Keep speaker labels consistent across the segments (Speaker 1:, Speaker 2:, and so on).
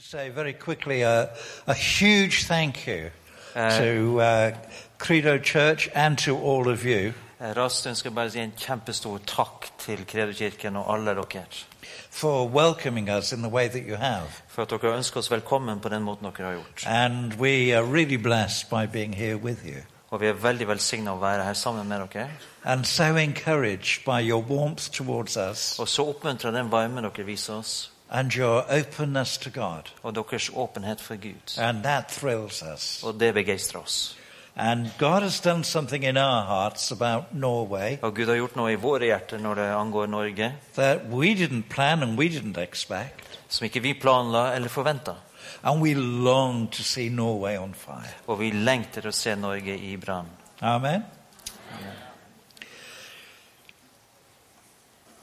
Speaker 1: say very quickly a, a huge thank you
Speaker 2: Eh,
Speaker 1: to uh, Credo Church and to all of you
Speaker 2: Eh, Raskt ønsker jeg bare å si en kjempestor takk til Kredokirken og alle dere
Speaker 1: for welcoming us in the way that you have.
Speaker 2: for at dere ønsker oss velkommen på den måten dere har gjort.
Speaker 1: And we are really blessed by being here with you
Speaker 2: Og vi er veldig velsigna å være her sammen med dere.
Speaker 1: and so encouraged by your warmth towards us
Speaker 2: Og så oppmuntra den varmen dere viser oss,
Speaker 1: and your openness to God.
Speaker 2: og deres åpenhet for Gud.
Speaker 1: And that thrills us.
Speaker 2: Og det begeistrer oss.
Speaker 1: And God has done something in our hearts about Norway
Speaker 2: Og Gud har gjort noe i våre hjerter når det angår Norge,
Speaker 1: that we didn't plan and we didn't expect.
Speaker 2: som ikke vi planla eller forventa.
Speaker 1: And we long to see Norway on fire.
Speaker 2: Og vi lengter å se Norge i brann.
Speaker 1: Amen.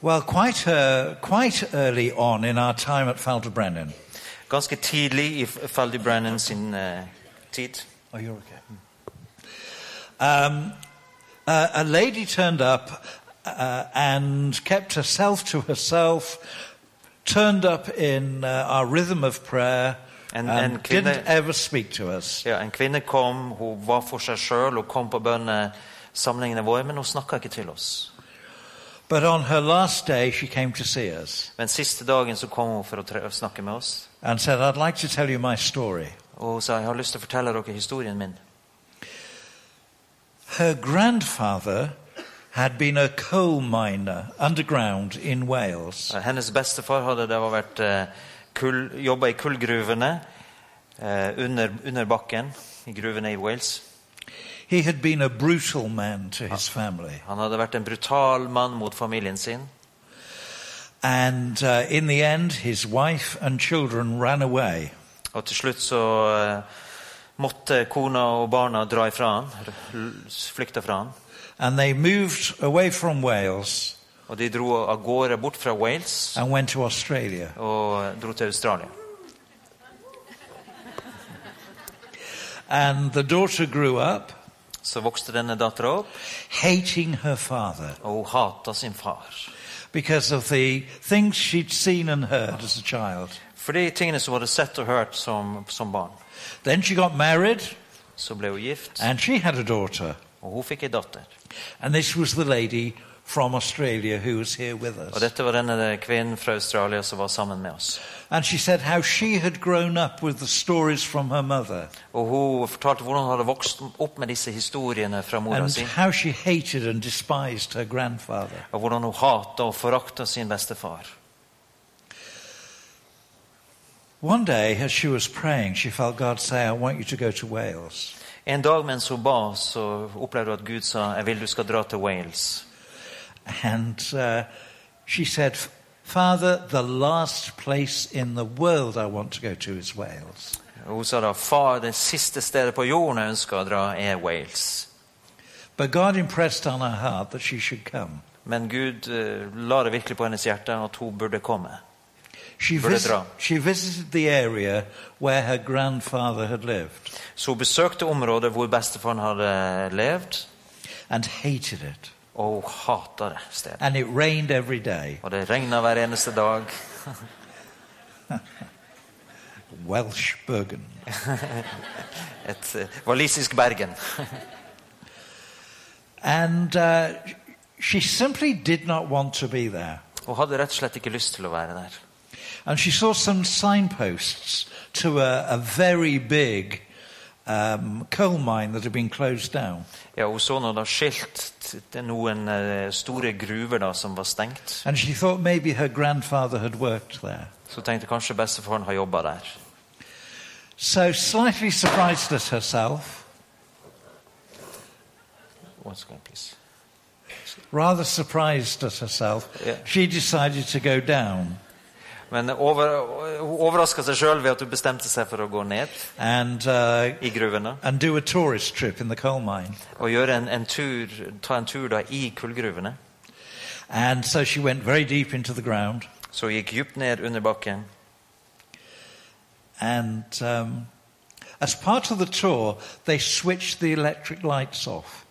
Speaker 1: Well, quite, uh, quite early on in our time at Falderbrennen.
Speaker 2: Ganske tidlig i Faldy Brennan sin eh, tid
Speaker 1: Oh, you're okay. Um, uh, a lady turned up uh, and kept herself to herself, turned up in uh, our rhythm of prayer,
Speaker 2: And-
Speaker 1: and,
Speaker 2: and can
Speaker 1: didn't
Speaker 2: I-
Speaker 1: ever speak to us.
Speaker 2: Ja, En kvinne kom, hun var for seg sjøl og kom på bønnesamlingene våre, men hun snakka ikke til oss.
Speaker 1: But on her last day, she came to see us
Speaker 2: Men siste dagen så kom hun for å tre- å snakke med oss.
Speaker 1: and said, I'd like to tell you my story.
Speaker 2: Og hun sa jeg har lyst til å fortelle dere historien min.
Speaker 1: Her grandfather had been a coal miner underground in Wales.
Speaker 2: Eh, Hennes bestefar hadde da vært eh, kull, jobba i kullgruvene eh, under, under bakken i gruvene i Wales.
Speaker 1: He had been a brutal man to his family.
Speaker 2: Han hadde vært en brutal mann mot familien sin.
Speaker 1: And uh, in the end, his wife and children ran away.
Speaker 2: Og til slutt så eh, måtte kona og barna dra ifra han, r- flykte fra han.
Speaker 1: And they moved away from Wales
Speaker 2: Og de dro av gårde bort fra Wales
Speaker 1: and went to Australia.
Speaker 2: og dro til Australia.
Speaker 1: And the daughter grew up
Speaker 2: Så vokste denne dattera opp,
Speaker 1: hating her father
Speaker 2: og hun hata sin far.
Speaker 1: because of the things she'd seen and heard as a child.
Speaker 2: For de tingene som hun hadde sett og hørt som, som barn.
Speaker 1: Then she got married
Speaker 2: Så ble hun gift,
Speaker 1: and she had a daughter.
Speaker 2: og hun fikk ei datter.
Speaker 1: And this was the lady from Australia who was here with
Speaker 2: Og
Speaker 1: us.
Speaker 2: dette var denne kvinnen fra Australia som var sammen med oss.
Speaker 1: And she said how she had grown up with the stories from her mother
Speaker 2: Og hun fortalte hvordan hun hadde vokst opp med disse historiene fra mora
Speaker 1: and
Speaker 2: si.
Speaker 1: how she hated and despised her grandfather.
Speaker 2: Og hvordan hun hata og forakta sin bestefar.
Speaker 1: One day, as she was praying, she felt God say, I want you to go to Wales.
Speaker 2: En dag mens hun ba, så opplevde hun at Gud sa 'Jeg vil du skal dra til Wales'.
Speaker 1: And uh, she said, Father, the last place in the world I want to go to is Wales.
Speaker 2: Og hun sa da 'Far, det siste stedet på jorden jeg ønsker å dra, er Wales'.
Speaker 1: But God impressed on her heart that she should come.
Speaker 2: Men Gud eh, la det virkelig på hennes hjerte at hun burde komme.
Speaker 1: She,
Speaker 2: Burde
Speaker 1: visi-
Speaker 2: dra.
Speaker 1: she visited the area where her grandfather had lived.
Speaker 2: Så hun besøkte området hvor bestefaren hadde eh, levd,
Speaker 1: and hated it.
Speaker 2: og hun hata det stedet.
Speaker 1: And it rained every day.
Speaker 2: Og det regna hver eneste dag.
Speaker 1: Welsh Bergen.
Speaker 2: Et eh, walisisk Bergen.
Speaker 1: And uh, she simply did not want to be there.
Speaker 2: Hun hadde rett og slett ikke lyst til å være der.
Speaker 1: And she saw some signposts to a, a very big um, coal mine that had been closed down.
Speaker 2: Ja, Hun så nå da skilt t- til noen eh, store gruver da som var stengt.
Speaker 1: And she thought maybe her grandfather had worked there.
Speaker 2: Så tenkte kanskje bestefaren har jobba der.
Speaker 1: So, slightly surprised at herself,
Speaker 2: One second, please.
Speaker 1: rather surprised at herself,
Speaker 2: Yeah.
Speaker 1: she decided to go down.
Speaker 2: Men over, hun overraska seg sjøl ved at hun bestemte seg for å gå ned
Speaker 1: And, uh,
Speaker 2: i gruvene
Speaker 1: and do a tourist trip in the coal mine.
Speaker 2: og gjøre en, en tur, ta en tur da i kullgruvene.
Speaker 1: And so she went very deep into the ground,
Speaker 2: Så hun gikk dypt ned under bakken.
Speaker 1: and um, as part of the tour, they switched the electric lights off.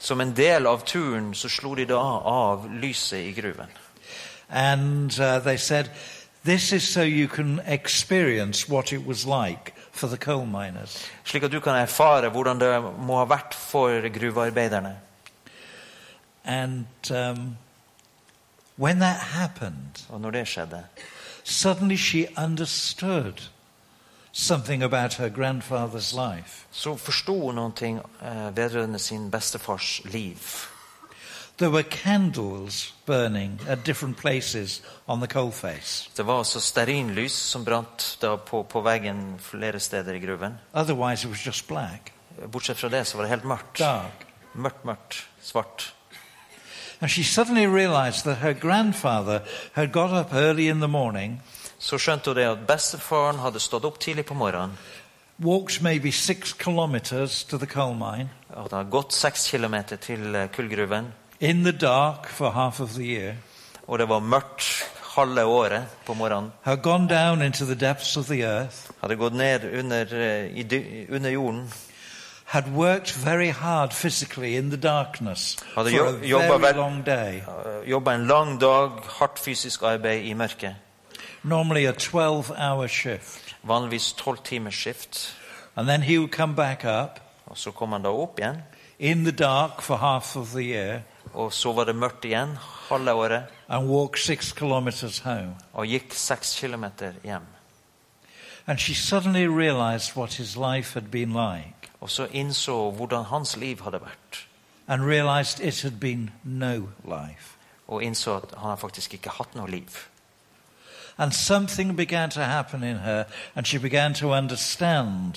Speaker 2: Som en del av turen så slo de da av lyset i gruven.
Speaker 1: And uh, they said, This is so you can experience what it was like for the coal miners.
Speaker 2: Slik at du kan erfare hvordan det må ha vært for gruvearbeiderne.
Speaker 1: And um, when that happened,
Speaker 2: Og når det skjedde,
Speaker 1: suddenly she understood something about her grandfather's life.
Speaker 2: så forsto hun noe eh, vedrørende sin bestefars liv.
Speaker 1: There were candles burning at different places on the coalface.
Speaker 2: Det var altså stearinlys som brant da på, på veggen flere steder i gruven.
Speaker 1: Otherwise, it was just black,
Speaker 2: Bortsett fra det så var det helt mørkt.
Speaker 1: dark.
Speaker 2: Mørkt, mørkt, svart.
Speaker 1: And she suddenly realized that her grandfather had got up early in the morning,
Speaker 2: Så skjønte hun det at bestefaren hadde stått opp tidlig på morgenen.
Speaker 1: walked maybe six kilometers to the coal mine
Speaker 2: At han hadde gått seks kilometer til eh, kullgruven.
Speaker 1: in the dark for half of the year,
Speaker 2: Og det var mørkt halve året på morgenen.
Speaker 1: had gone down into the depths of the earth,
Speaker 2: Hadde gått ned under, eh, i, dy- under jorden.
Speaker 1: had worked very hard physically in the darkness
Speaker 2: Had
Speaker 1: for
Speaker 2: a
Speaker 1: a
Speaker 2: jo- jobba
Speaker 1: very
Speaker 2: ver-
Speaker 1: long day,
Speaker 2: Jobba en lang dag, hardt fysisk arbeid i mørket.
Speaker 1: normally a 12 hour shift.
Speaker 2: Vanligvis tolv timers skift.
Speaker 1: And then he would come back up
Speaker 2: Og så kom han da opp igjen.
Speaker 1: in the dark for half of the year
Speaker 2: Og så var det mørkt igjen halve året.
Speaker 1: and walk six kilometers home.
Speaker 2: Og gikk seks kilometer hjem.
Speaker 1: And she suddenly realized what his life had been like.
Speaker 2: Og så innså hun hvordan hans liv hadde vært.
Speaker 1: and realized it had been no life.
Speaker 2: Og innså at han har faktisk ikke hatt noe liv.
Speaker 1: And something began to happen in her, and she began to understand.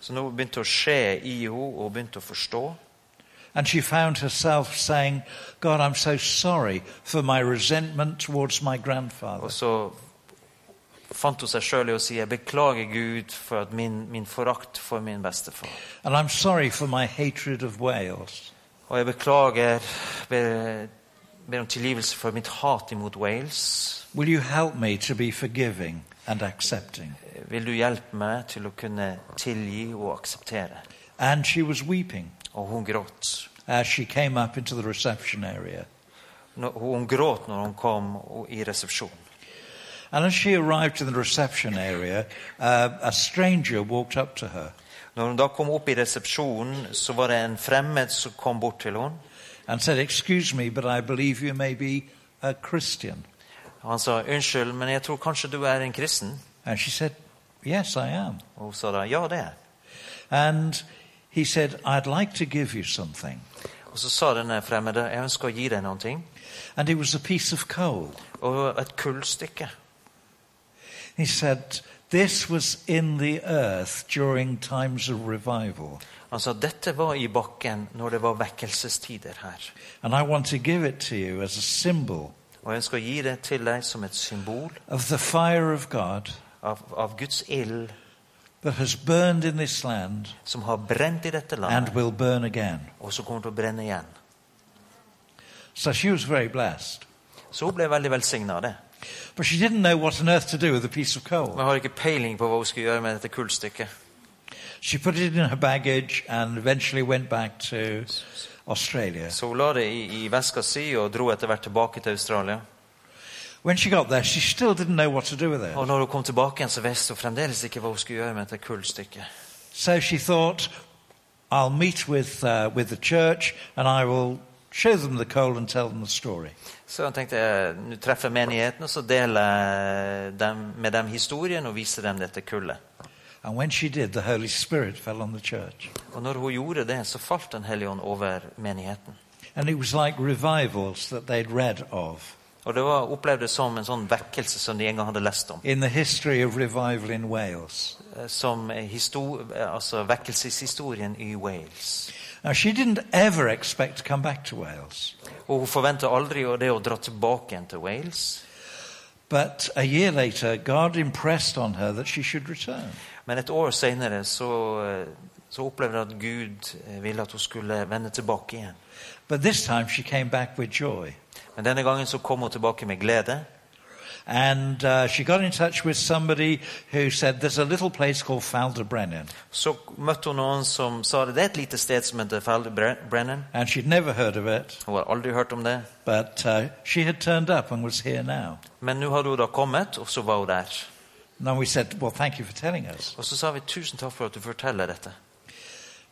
Speaker 2: Så nå begynte det å skje i henne, og hun begynte å forstå.
Speaker 1: And she found herself saying, God, I'm so sorry for my resentment towards my grandfather.
Speaker 2: Og så fant hun seg sjøl i å si jeg beklager Gud for at min, min forakt for min bestefar.
Speaker 1: And I'm sorry for my hatred of Wales.
Speaker 2: Og jeg beklager, ber, ber om tilgivelse for mitt hat imot Wales.
Speaker 1: Will you help me to be forgiving and accepting?
Speaker 2: Vil du hjelpe meg til å kunne tilgi og akseptere?
Speaker 1: And she was weeping
Speaker 2: Og hun gråt.
Speaker 1: as she came up into the reception area.
Speaker 2: Nå- Hun gråt når hun kom og- i resepsjonen.
Speaker 1: And as she arrived in the reception area, uh, a stranger walked up to her.
Speaker 2: Når hun da kom opp i resepsjonen, så var det en fremmed som kom bort til henne.
Speaker 1: and said, Excuse me, but I believe you may be a Christian.
Speaker 2: Han sa 'Unnskyld, men jeg tror kanskje du er en kristen?'
Speaker 1: And she said, Yes, I am.
Speaker 2: Og hun sa da 'Ja, det er jeg'.
Speaker 1: And he said, I'd like to give you something.
Speaker 2: Og så sa denne fremmede 'Jeg ønsker å gi deg noen ting'.
Speaker 1: And it was a piece of coal.
Speaker 2: Og et kullstykke.
Speaker 1: He said, This was in the earth during times of revival,
Speaker 2: Han sa 'Dette var i bakken når det var vekkelsestider her'.
Speaker 1: and I want to give it to you as a symbol
Speaker 2: Og jeg ønsker å gi det til deg som et symbol
Speaker 1: of the fire of God
Speaker 2: av, av Guds ild
Speaker 1: that has burned in this land
Speaker 2: som har brent i dette
Speaker 1: and
Speaker 2: landet,
Speaker 1: will burn again.
Speaker 2: og som kommer til å brenne igjen.
Speaker 1: So she was very blessed.
Speaker 2: Så hun ble veldig velsigna av det.
Speaker 1: But she didn't know what on earth to do with the piece of coal.
Speaker 2: Men jeg har ikke peiling på hva hun skulle gjøre med dette kullstykket.
Speaker 1: She put it in her baggage and eventually went back to Australia.
Speaker 2: Så hun la det i, i veska si og dro etter hvert tilbake til Australia.
Speaker 1: When she got there, she still didn't know what to do with it.
Speaker 2: Og når hun kom tilbake igjen, så visste hun fremdeles ikke hva hun skulle gjøre med dette kullstykket.
Speaker 1: So she thought, I'll meet with, uh, with the church and I will show them the coal and tell them the story.
Speaker 2: Så hun tenkte eh, nå treffer jeg menigheten, og så deler jeg dem, med dem historien og viser dem dette kullet.
Speaker 1: And when she did, the Holy Spirit fell on the church.
Speaker 2: Og når hun gjorde det, så falt Den hellige ånd over menigheten.
Speaker 1: And it was like revivals that they'd read of.
Speaker 2: Og det var opplevd som en sånn vekkelse som de en gang hadde lest om.
Speaker 1: In the history of revival in Wales.
Speaker 2: eh, Som eh, histo- eh, altså vekkelseshistorien i Wales.
Speaker 1: Now, she didn't ever expect to come back to Wales,
Speaker 2: Og hun forventa aldri å- det å dra tilbake igjen til Wales.
Speaker 1: but a year later, God impressed on her that she should return.
Speaker 2: Men et år seinere så, eh, så opplevde hun at Gud eh, ville at hun skulle vende tilbake igjen.
Speaker 1: But this time she came back with joy.
Speaker 2: Men denne gangen så kom hun tilbake med glede.
Speaker 1: And uh, she got in touch with somebody who said, There's a little place called Falderbrennen.
Speaker 2: Så møtte hun noen som sa det er et lite sted som heter Feldbrennen.
Speaker 1: And she'd never heard of it,
Speaker 2: Hun har aldri hørt om det.
Speaker 1: but uh, she had turned up and was here now.
Speaker 2: Men nå hadde hun da kommet, og så var hun der.
Speaker 1: And then we said, Well, thank you for telling us.
Speaker 2: Og så sa vi tusen takk for at du forteller dette.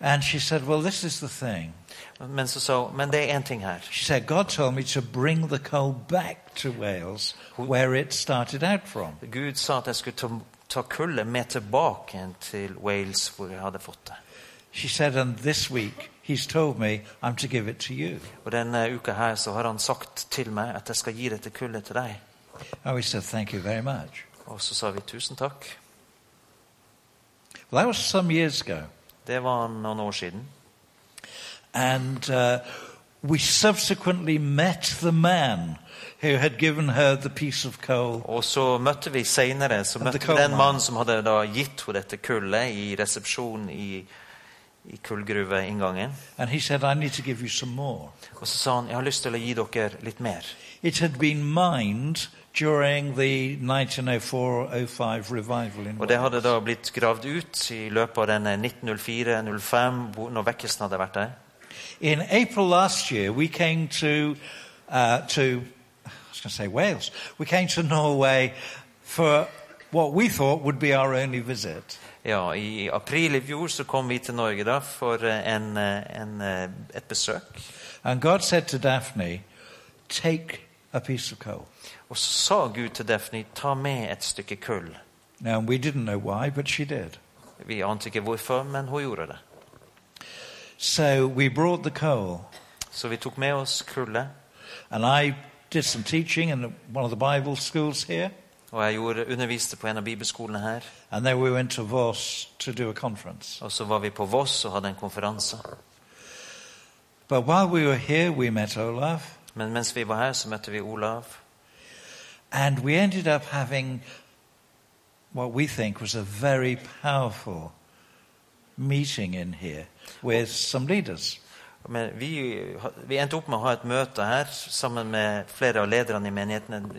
Speaker 1: And she said, Well, this is the thing.
Speaker 2: Men så sa hun men det er én ting her.
Speaker 1: She said, God told me to bring the coal back to Wales, where it started out from.
Speaker 2: Gud sa at jeg skulle ta, ta kullet med tilbake igjen til Wales, hvor jeg hadde fått det.
Speaker 1: She said, And this week, He's told me I'm to give it to you.
Speaker 2: Og denne uka her så har han sagt til meg at jeg skal gi dette kullet til deg.
Speaker 1: And we said, Thank you very much.
Speaker 2: Og så sa vi tusen takk.
Speaker 1: Well, that was some years ago.
Speaker 2: Det var noen år siden.
Speaker 1: And uh, we subsequently met the man who had given her the piece of coal.
Speaker 2: Og så møtte vi senere så møtte vi
Speaker 1: coal
Speaker 2: den
Speaker 1: mine.
Speaker 2: mannen som hadde da gitt henne dette kullet i resepsjonen i, i kullgruveinngangen.
Speaker 1: And he said, I need to give you some more.
Speaker 2: Og så sa han jeg har lyst til å gi dere litt mer.
Speaker 1: It had been mined during the 1904 05 revival in
Speaker 2: Og det
Speaker 1: Wales.
Speaker 2: hadde da blitt gravd ut i løpet av denne 1904-05, hvor- når vekkelsen hadde vært der.
Speaker 1: In April last year, we came to, uh, to I was going to say Wales, we came to Norway for what we thought would be our only visit.
Speaker 2: Ja, I april i fjor så kom vi til Norge da for eh, en, eh, en, eh, et besøk.
Speaker 1: And God said to Daphne, Take a piece of coal.
Speaker 2: Og så sa Gud til Daphne ta med et stykke kull.
Speaker 1: Now, we didn't know why, but she did.
Speaker 2: Vi ante ikke hvorfor, men hun gjorde det.
Speaker 1: So we brought the coal,
Speaker 2: Så vi tok med oss kullet.
Speaker 1: and I did some teaching in one of the Bible schools here,
Speaker 2: Og jeg gjorde, underviste på en av bibelskolene her.
Speaker 1: and then we went to Voss to do a conference.
Speaker 2: Og så var vi på Voss og hadde en konferanse.
Speaker 1: But while we were here, we met Olaf,
Speaker 2: Men mens vi var her, så møtte vi Olav.
Speaker 1: and we ended up having what we think was a very powerful meeting in here with some leaders.
Speaker 2: Men vi, vi endte opp med å ha et møte her sammen med flere av lederne i menigheten.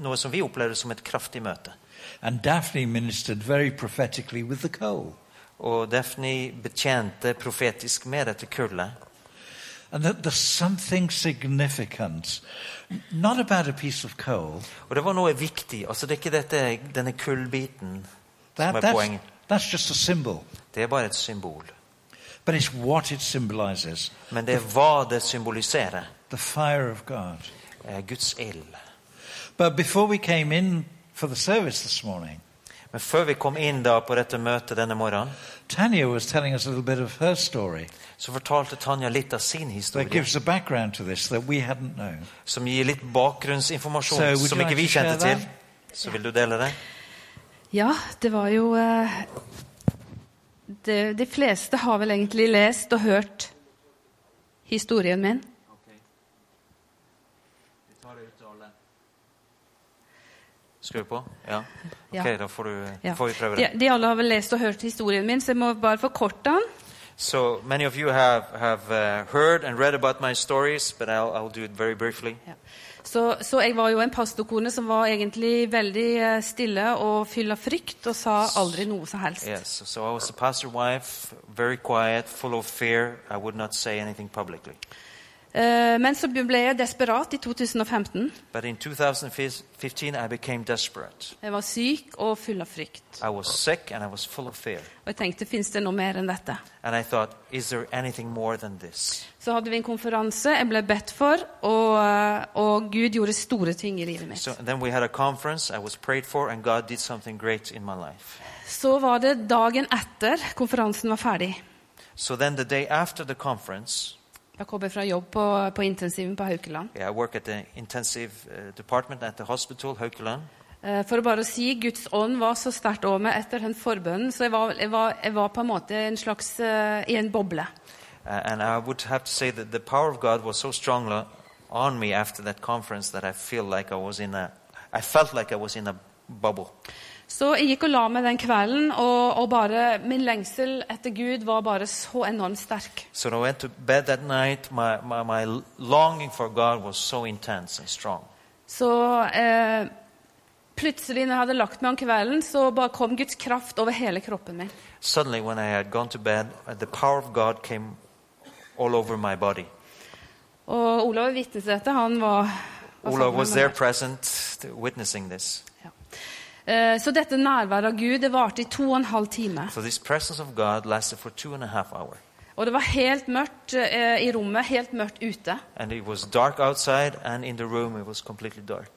Speaker 2: Noe som vi opplever som et kraftig møte.
Speaker 1: And Daphne ministered very prophetically with the coal.
Speaker 2: Og Daphne betjente profetisk med dette kullet.
Speaker 1: And that there's something significant, n- not about a piece of coal,
Speaker 2: Og det var noe viktig. Altså, det er ikke dette, denne kullbiten som
Speaker 1: That,
Speaker 2: er
Speaker 1: that's,
Speaker 2: poenget.
Speaker 1: that's just a symbol,
Speaker 2: Det er bare et symbol.
Speaker 1: but it's what it symbolizes
Speaker 2: Men det er hva det symboliserer.
Speaker 1: the fire of God.
Speaker 2: Eh, Guds ild.
Speaker 1: But before we came in for the service this morning,
Speaker 2: Men før vi kom inn da på dette møtet denne morgenen,
Speaker 1: Tanya was telling us a little bit of her story
Speaker 2: så fortalte Tanja litt av sin
Speaker 1: that
Speaker 2: historie,
Speaker 1: gives a background to this that we hadn't known.
Speaker 2: som gir litt bakgrunnsinformasjon
Speaker 1: So, would you
Speaker 2: som ikke
Speaker 1: like
Speaker 2: vi
Speaker 1: to
Speaker 2: kjente
Speaker 1: share
Speaker 2: til. Så vil du dele det?
Speaker 3: Ja, det var jo eh, det, De fleste har vel egentlig lest og hørt historien min.
Speaker 2: Skrur på? Ja.
Speaker 3: Ja.
Speaker 2: Ok, da får, du,
Speaker 3: Ja.
Speaker 2: får vi prøve
Speaker 3: De,
Speaker 2: det.
Speaker 3: de alle har vel lest og hørt historien min, så jeg må bare forkorte den.
Speaker 2: So many of you have, have uh, heard and read about my stories, but I'll, I'll do it very briefly.
Speaker 3: Ja. Så, så jeg var jo en pastorkone som var egentlig veldig eh, stille og fyll av frykt og sa aldri noe som helst.
Speaker 2: Yes, so I was a pastor wife, very quiet, full of fear. I would not say anything publicly.
Speaker 3: Eh, men så ble jeg desperat i 2015.
Speaker 2: But in 2015, I became desperate.
Speaker 3: Jeg var syk og full av frykt.
Speaker 2: I was sick and I was full of fear.
Speaker 3: Og jeg tenkte fins det noe mer enn dette?
Speaker 2: And I thought, is there anything more than this?
Speaker 3: Så hadde vi en konferanse, jeg ble bedt for, og, eh, og Gud gjorde store ting i livet mitt.
Speaker 2: So
Speaker 3: Så.
Speaker 2: then we had a conference, I was prayed for, and God did something great in my life.
Speaker 3: var det dagen etter konferansen var ferdig.
Speaker 2: So then the day after the conference,
Speaker 3: Jeg kommer fra jobb på, på intensiven på Haukeland.
Speaker 2: yeah, I work at the intensive uh, department at the hospital, Haukeland.
Speaker 3: Eh, For å bare si, Guds ånd var så sterkt over meg etter den forbønnen, så jeg var, jeg, var, jeg var på en måte en slags, eh, i en boble.
Speaker 2: Uh, and I would have to say that the power of God was so strong lo- on me after that conference that I feel like I was in a, I felt like I was in a bubble.
Speaker 3: Så jeg gikk og la meg den kvelden, og, og bare, min lengsel etter Gud var bare så enormt sterk.
Speaker 2: So when I went to bed that night, my, my, my longing for God was so intense and strong.
Speaker 3: Så eh, Plutselig når jeg hadde lagt meg om kvelden, så bare kom Guds kraft over hele kroppen min.
Speaker 2: Suddenly, when I had gone to bed, uh, the power of God came all over my body.
Speaker 3: Og Olav er vitne til dette. Han var, var sammen
Speaker 2: Olav was
Speaker 3: med
Speaker 2: there
Speaker 3: meg.
Speaker 2: present, t- witnessing this.
Speaker 3: Ja. Eh, Så dette nærværet av Gud det varte i to og en halv time.
Speaker 2: So this presence of God lasted for two and a half hours.
Speaker 3: Og det var helt mørkt eh, i rommet, helt mørkt ute.
Speaker 2: And it was dark outside, and in the room it was completely dark.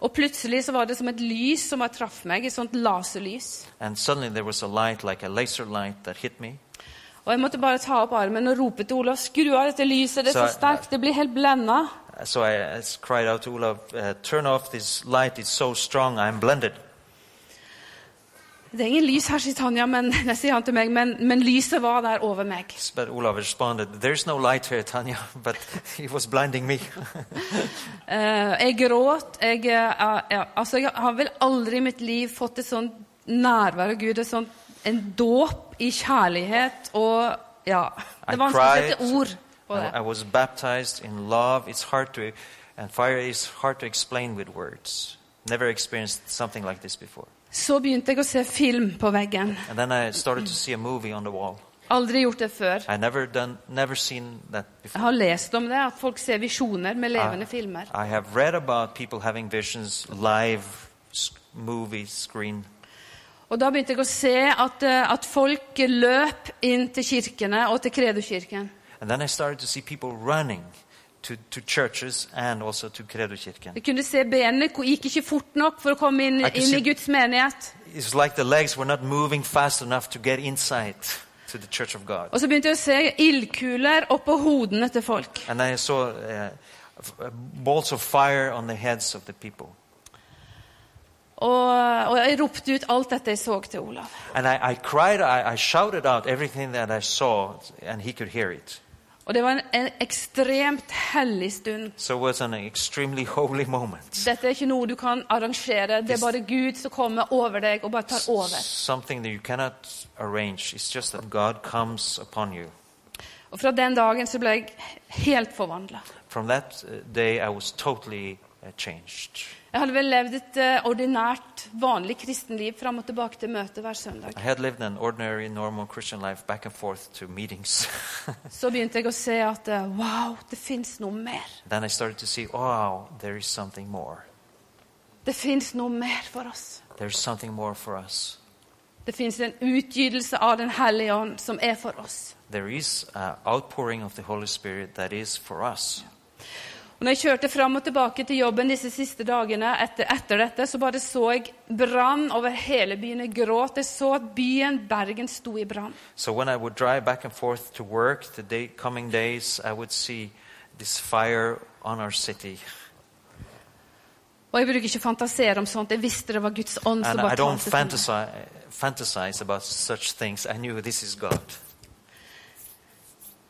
Speaker 3: Og plutselig så var det som et lys som bare traff meg, et sånt laserlys.
Speaker 2: And suddenly there was a light, like a laser light, that hit me.
Speaker 3: Og jeg måtte bare ta opp armen og rope til Olav, skru av dette lyset, det er så
Speaker 2: Så-
Speaker 3: sterkt, det blir helt blenda.
Speaker 2: Uh, So I uh, s- cried out to Olav, uh, Turn off this light, it's so strong, I'm blinded.
Speaker 3: Det er ingen lys her, sier Tanja, men, det sier han til meg, men, men lyset var der over meg.
Speaker 2: S- But Olav responded, There's no light here, Tanya, but it was blinding me.
Speaker 3: Eh, jeg gråt. Jeg, eh, ja, ja, altså, jeg har vel aldri i mitt liv fått et sånt nærvær av Gud, et sånt, en dåp i kjærlighet og Ja.
Speaker 2: I
Speaker 3: Det er vanskelig å
Speaker 2: cried.
Speaker 3: sette ord på
Speaker 2: I, I
Speaker 3: det.
Speaker 2: was baptized in love. It's hard to, and fire is hard to explain with words. Never experienced something like this before.
Speaker 3: Så begynte jeg å se film på veggen.
Speaker 2: And then I started to see a movie on the wall.
Speaker 3: Aldri gjort det før.
Speaker 2: I never done, never seen that
Speaker 3: Jeg
Speaker 2: before.
Speaker 3: har lest om det, at folk ser visjoner med
Speaker 2: Ah.
Speaker 3: levende filmer.
Speaker 2: I have read about people having visions, live s- movie screen.
Speaker 3: Og da begynte jeg å se at, eh, at folk løp inn til kirkene og til Kredo-kirken.
Speaker 2: And then I started to see people running to, to churches and also to Kredochirken.
Speaker 3: Jeg kunne se benene ko- gikk ikke fort nok for å komme inn,
Speaker 2: Jeg kan
Speaker 3: inn
Speaker 2: si-
Speaker 3: i Guds menighet.
Speaker 2: It's like the legs were not moving fast enough to get inside to the church of God.
Speaker 3: Og så begynte jeg å se ildkuler oppå hodene til folk.
Speaker 2: And I saw uh, f- uh, balls of fire on the heads of the people.
Speaker 3: Og, og jeg ropte ut alt dette jeg så til Olav.
Speaker 2: And I, I cried, I, I shouted out everything that I saw, and he could hear it.
Speaker 3: Og det var en, en ekstremt hellig stund.
Speaker 2: So it was an extremely holy moment.
Speaker 3: Dette er ikke noe du kan arrangere. Det er bare Gud som kommer over deg og bare tar over.
Speaker 2: Something that you cannot arrange. It's just that God comes upon you.
Speaker 3: Og fra den dagen så ble jeg helt forvandla.
Speaker 2: From that uh, day, I was totally uh, changed.
Speaker 3: Jeg hadde vel levd et eh, ordinært, vanlig kristenliv fram og tilbake til møtet hver søndag.
Speaker 2: I had lived an ordinary, normal Christian life back and forth to meetings.
Speaker 3: Så begynte jeg å se at eh, wow, det fins noe mer.
Speaker 2: then I started to see, wow, there is something more.
Speaker 3: Det fins noe mer for oss.
Speaker 2: There's something more for us.
Speaker 3: Det fins en utgytelse av Den hellige ånd som er for oss.
Speaker 2: There is uh, outpouring of the Holy Spirit that is for us.
Speaker 3: Og når jeg kjørte fram og tilbake til jobben disse siste dagene etter, etter dette, så bare så jeg brann over hele byen. Jeg gråt. Jeg så at byen Bergen sto i brann.
Speaker 2: So when I would drive back and forth to work the day, coming days, I would see this fire on our city.
Speaker 3: Og jeg bruker ikke fantasere om sånt. Jeg visste det var Guds ånd som
Speaker 2: And I
Speaker 3: bare
Speaker 2: don't
Speaker 3: talte til meg.
Speaker 2: fantasize, fantasize about such things. I knew this is God.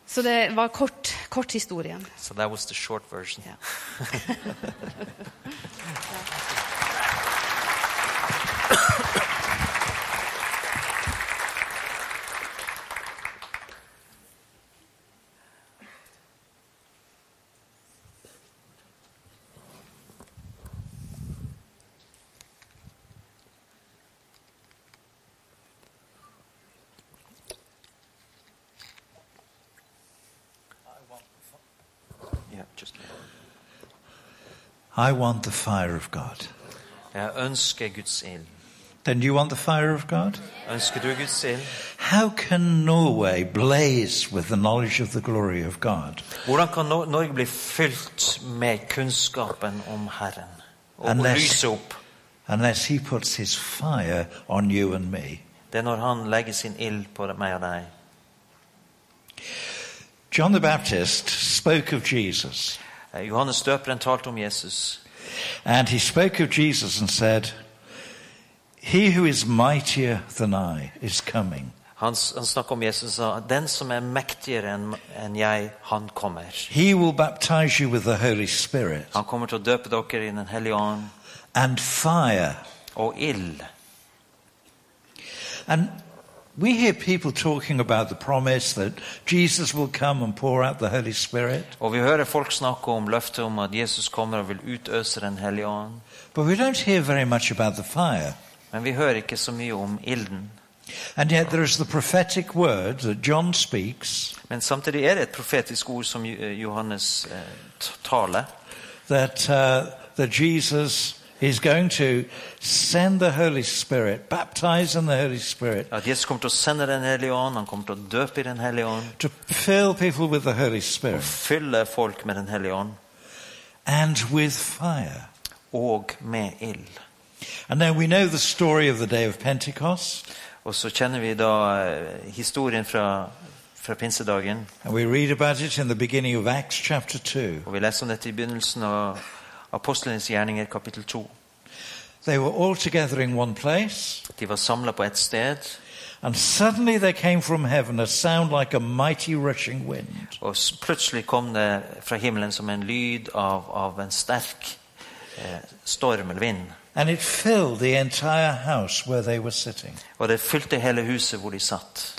Speaker 3: Så det var kort, kort historien.
Speaker 2: So that was the short version.
Speaker 3: Ja.
Speaker 2: Yeah, just
Speaker 1: I want the fire of God.
Speaker 2: Jeg ønsker Uh, Guds ild.
Speaker 1: Then you want the fire of God?
Speaker 2: Ønsker du Guds ild?
Speaker 1: How can Norway blaze with the knowledge of the glory of God
Speaker 2: Hvordan kan Nor- Norge bli fylt med kunnskapen om Herren? Og, og
Speaker 1: Unless-
Speaker 2: lyse opp.
Speaker 1: unless He puts His fire on you and me?
Speaker 2: Det er når Han legger sin ild på meg og deg.
Speaker 1: John the Baptist spoke of Jesus,
Speaker 2: Eh, Johannes døperen talte om Jesus.
Speaker 1: and he spoke of Jesus and said, He who is mightier than I is coming.
Speaker 2: Han, s- han snakket om Jesus og sa at den som er mektigere enn enn jeg, han kommer.
Speaker 1: He will baptize you with the Holy Spirit
Speaker 2: Han kommer til å døpe dere i Den hellige ånd
Speaker 1: and fire.
Speaker 2: og ild.
Speaker 1: And We hear people talking about the promise that Jesus will come and pour out the Holy Spirit,
Speaker 2: Og vi hører folk snakke om løftet om at Jesus kommer og vil utøse Den hellige ånd.
Speaker 1: but we don't hear very much about the fire.
Speaker 2: Men vi hører ikke så mye om ilden.
Speaker 1: And yet there is the prophetic word that John speaks
Speaker 2: Men samtidig er det et profetisk ord som Jo- Johannes eh, t- taler.
Speaker 1: that, uh, that Jesus is going to send the Holy Spirit, baptize in the Holy Spirit,
Speaker 2: At Jesus kommer til å sende Den hellige ånd, han kommer til å døpe i Den hellige ånd.
Speaker 1: to fill people with the Holy Spirit
Speaker 2: Fylle folk med Den hellige ånd
Speaker 1: and with fire.
Speaker 2: og med ild.
Speaker 1: And then we know the story of the day of Pentecost,
Speaker 2: Og så kjenner vi da eh, historien fra, fra pinsedagen.
Speaker 1: and we read about it in the beginning of Acts chapter 2.
Speaker 2: Og vi leser om dette i begynnelsen av Apostlenes gjerninger, kapittel 2.
Speaker 1: They were all together in one place,
Speaker 2: De var samla på ett sted,
Speaker 1: and suddenly there came from heaven a sound like a mighty rushing wind,
Speaker 2: og s- plutselig kom det fra himmelen som en lyd av, av en sterk eh, storm eller vind.
Speaker 1: and it filled the entire house where they were sitting.
Speaker 2: Og det fylte hele huset hvor de satt.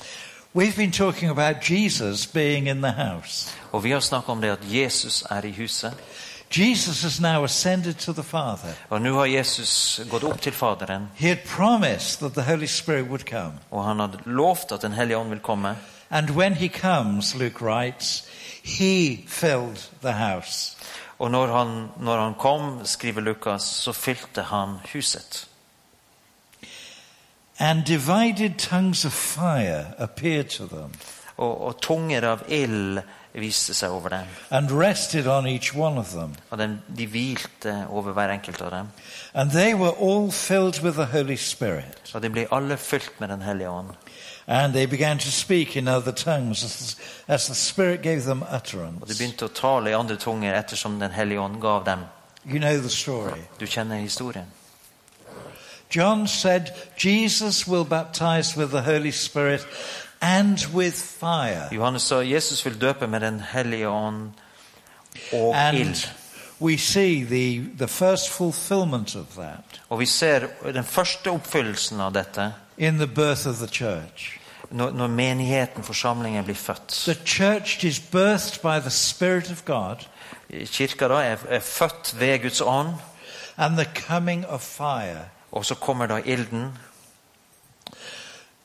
Speaker 1: We've been talking about Jesus being in the house.
Speaker 2: Og vi har snakka om det at Jesus er i huset.
Speaker 1: Jesus has now ascended to the Father.
Speaker 2: Og nå har Jesus gått opp til Faderen,
Speaker 1: He had promised that the Holy Spirit would come.
Speaker 2: og han hadde lovt at Den hellige ånd vil komme.
Speaker 1: And when he comes, Luke writes, he filled the house.
Speaker 2: Og når han, når han kom, skriver Lukas, så fylte han huset.
Speaker 1: And divided tongues of fire appeared to them
Speaker 2: Og, og tunger av ild viste seg over dem.
Speaker 1: and rested on each one of them.
Speaker 2: Og dem, de hvilte over hver enkelt av dem.
Speaker 1: And they were all filled with the Holy Spirit.
Speaker 2: Og de ble alle fylt med Den hellige ånd.
Speaker 1: And they began to speak in other tongues as, as the Spirit gave them
Speaker 2: Og de
Speaker 1: utterance.
Speaker 2: begynte å tale i andre tunger ettersom Den hellige ånd gav dem.
Speaker 1: You know the story.
Speaker 2: Du kjenner historien.
Speaker 1: John said, Jesus will baptize with the Holy Spirit and with fire.
Speaker 2: Johannes sa Jesus vil døpe med Den hellige ånd og ild.
Speaker 1: And we see the, the first fulfillment of that
Speaker 2: Og vi ser den første oppfyllelsen av dette
Speaker 1: in the birth of the church.
Speaker 2: når, når menigheten, forsamlingen, blir født.
Speaker 1: The church is birthed by the Spirit of God
Speaker 2: Kirka da er, er født ved Guds ånd,
Speaker 1: and the coming of fire.
Speaker 2: og så kommer da ilden.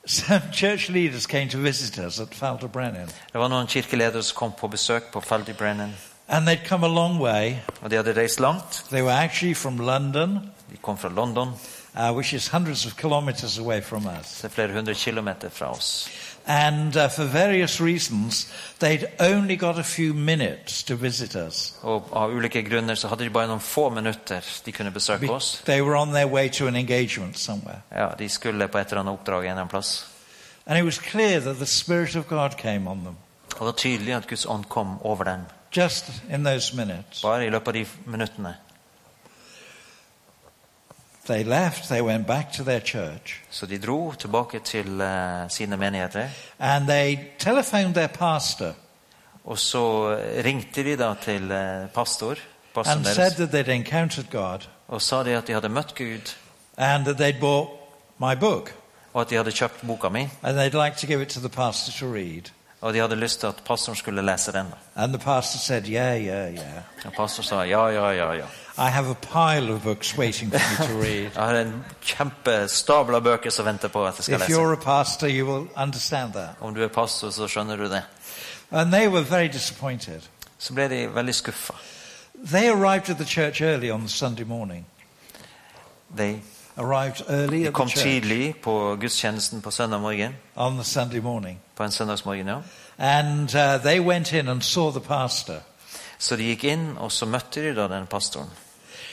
Speaker 1: Some church leaders came to visit us at Falderbrennen,
Speaker 2: Det var noen kirkeledere som kom på besøk på Feldibrennen,
Speaker 1: and they'd come a long way.
Speaker 2: og de hadde reist langt.
Speaker 1: They were actually from London,
Speaker 2: De kom fra London,
Speaker 1: uh, which is hundreds of kilometers away from us.
Speaker 2: så det er flere hundre kilometer fra oss.
Speaker 1: And uh, for various reasons, they'd only got a few minutes to visit us.
Speaker 2: Og av ulike grunner så hadde de bare noen få minutter de kunne besøke oss.
Speaker 1: They were on their way to an engagement somewhere.
Speaker 2: Ja, De skulle på et eller annet oppdrag en eller annen plass.
Speaker 1: And it was clear that the Spirit of God came on them
Speaker 2: Og det var tydelig at Guds ånd kom over dem,
Speaker 1: just in those minutes.
Speaker 2: bare i løpet av de minuttene.
Speaker 1: They left, they went back to their church,
Speaker 2: Så de dro tilbake til eh, sine menigheter.
Speaker 1: and they telephoned their pastor
Speaker 2: Og så ringte de da til eh, pastor pastoren
Speaker 1: and said
Speaker 2: deres,
Speaker 1: that they'd encountered God
Speaker 2: og sa de at de hadde møtt Gud,
Speaker 1: and that they'd bought my book
Speaker 2: og at de hadde kjøpt boka mi,
Speaker 1: and they'd like to give it to the pastor to read.
Speaker 2: og de hadde lyst til at pastoren skulle lese den. da.
Speaker 1: And the pastor said, Yeah, yeah, yeah.
Speaker 2: Og pastoren sa ja, ja, ja. ja.
Speaker 1: I have a pile of books waiting for me to read.
Speaker 2: Jeg har en kjempestabel av bøker som venter på at jeg skal
Speaker 1: If
Speaker 2: lese.
Speaker 1: you're a pastor, you will understand that.
Speaker 2: Om du er pastor, så skjønner du det.
Speaker 1: And they were very disappointed.
Speaker 2: Så ble de veldig skuffa.
Speaker 1: They arrived at the church early on the Sunday morning.
Speaker 2: De
Speaker 1: Arrived early
Speaker 2: de
Speaker 1: at the
Speaker 2: kom
Speaker 1: church
Speaker 2: tidlig på gudstjenesten på søndag morgen.
Speaker 1: on the Sunday morning.
Speaker 2: På en søndagsmorgen, ja.
Speaker 1: And uh, they went in and saw the pastor
Speaker 2: Så de gikk inn, og så møtte de da den pastoren.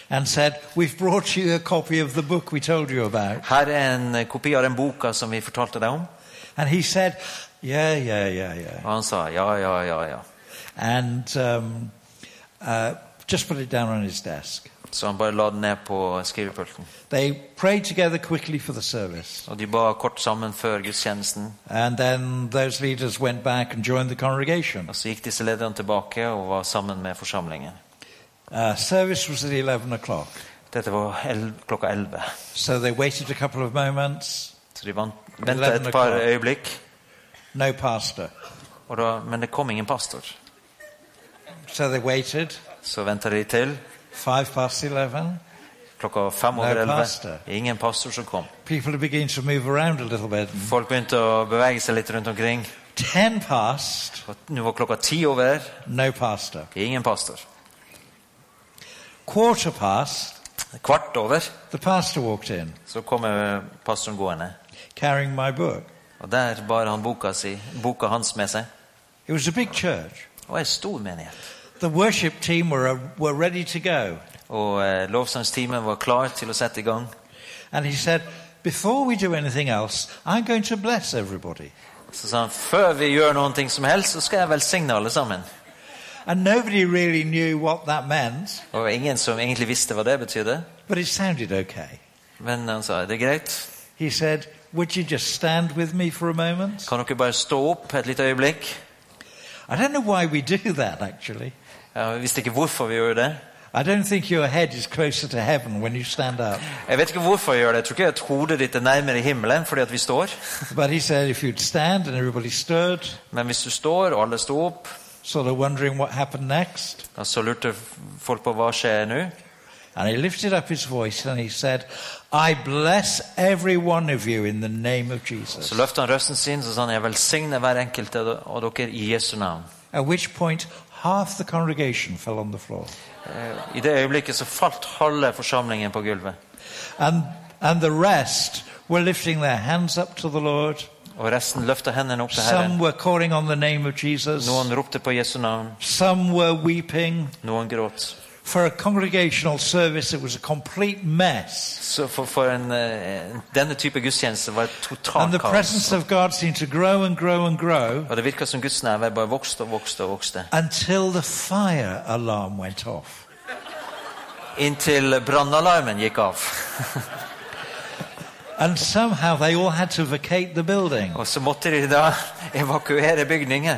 Speaker 1: and said, We've brought you a copy of the book we told you about.
Speaker 2: Her er en eh, kopi av den boka som vi fortalte deg om.
Speaker 1: And he said, Yeah, yeah, yeah, yeah.
Speaker 2: Og han sa ja, ja, ja, ja.
Speaker 1: And um, uh, just put it down on his desk.
Speaker 2: Så han bare la den ned på skrivepulten.
Speaker 1: They prayed together quickly for the service.
Speaker 2: Og de ba kort sammen før gudstjenesten.
Speaker 1: And then those leaders went back and joined the congregation.
Speaker 2: Og så gikk disse lederne tilbake og var sammen med forsamlingen.
Speaker 1: Uh, service was at 11 o'clock.
Speaker 2: Dette var el klokka elleve.
Speaker 1: So they waited a couple of moments
Speaker 2: Så de vant, venta
Speaker 1: Eleven
Speaker 2: et par
Speaker 1: o'clock.
Speaker 2: øyeblikk,
Speaker 1: No pastor.
Speaker 2: og da, men det kom ingen pastor.
Speaker 1: So they waited.
Speaker 2: Så venta de til
Speaker 1: Five past 11.
Speaker 2: klokka fem
Speaker 1: No
Speaker 2: over elleve.
Speaker 1: pastor.
Speaker 2: Ingen pastor som kom.
Speaker 1: People beginning to move around a little bit.
Speaker 2: Folk begynte å bevege seg litt rundt omkring.
Speaker 1: Ten past.
Speaker 2: Og nå var klokka ti over.
Speaker 1: No pastor.
Speaker 2: Ingen pastor.
Speaker 1: Quarter past.
Speaker 2: Kvart over
Speaker 1: The pastor walked in,
Speaker 2: så kommer pastoren gående.
Speaker 1: carrying my book.
Speaker 2: Og der bar han boka, si, boka hans med seg.
Speaker 1: It was a big church.
Speaker 2: Og ei stor menighet.
Speaker 1: The worship team were, uh, were ready to go.
Speaker 2: Og eh, lovsangstimen var klar til å sette i gang.
Speaker 1: And he said, Before we do anything else, I'm going to bless everybody.
Speaker 2: Så sa han før vi gjør noen ting som helst, så skal jeg velsigne alle sammen.
Speaker 1: And nobody really knew what that meant,
Speaker 2: Og det var ingen som egentlig visste hva det betydde.
Speaker 1: but it sounded okay.
Speaker 2: Men han sa det er greit.
Speaker 1: He said, Would you just stand with me for a moment?
Speaker 2: Kan dere bare stå opp et lite øyeblikk?
Speaker 1: I don't know why we do that, actually.
Speaker 2: Jeg visste ikke hvorfor vi gjorde det.
Speaker 1: I don't think your head is closer to heaven when you stand up.
Speaker 2: Jeg vet ikke hvorfor jeg gjør det. Jeg tror ikke at hodet ditt er nærmere himmelen fordi at vi står.
Speaker 1: But he said, If you'd stand, and everybody stood,
Speaker 2: Men hvis du står, og alle sto opp,
Speaker 1: sort of wondering what happened next.
Speaker 2: da så lurte folk på hva skjer nå.
Speaker 1: And he lifted up his voice and he said, I bless every one of you in the name of Jesus.
Speaker 2: Så løftet han røsten sin så sa han, jeg velsigner hver enkelt av de- av dere i Jesu navn.
Speaker 1: At which point, half the congregation fell on the floor.
Speaker 2: Eh, I det øyeblikket så falt halve forsamlingen på gulvet.
Speaker 1: And, and the rest were lifting their hands up to the Lord.
Speaker 2: Og resten løftet hendene opp til
Speaker 1: Some
Speaker 2: Herren.
Speaker 1: were calling on the name of Jesus.
Speaker 2: Noen ropte på Jesu navn,
Speaker 1: Some were weeping.
Speaker 2: noen gråt.
Speaker 1: For a congregational service, it was a complete mess.
Speaker 2: Så for, for en, eh, denne type gudstjeneste var et
Speaker 1: And the
Speaker 2: totalt kaos.
Speaker 1: presence of God seemed to grow and grow and grow
Speaker 2: Og det virket som Guds nærvær bare vokste og vokste og vokste.
Speaker 1: until the fire alarm went off.
Speaker 2: Inntil brannalarmen gikk av.
Speaker 1: And somehow they all had to vacate the building.
Speaker 2: Og så måtte de da evakuere bygningen.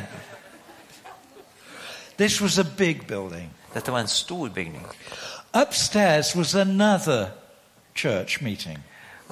Speaker 1: This was a big building.
Speaker 2: Dette var en stor bygning.
Speaker 1: Upstairs was another church meeting.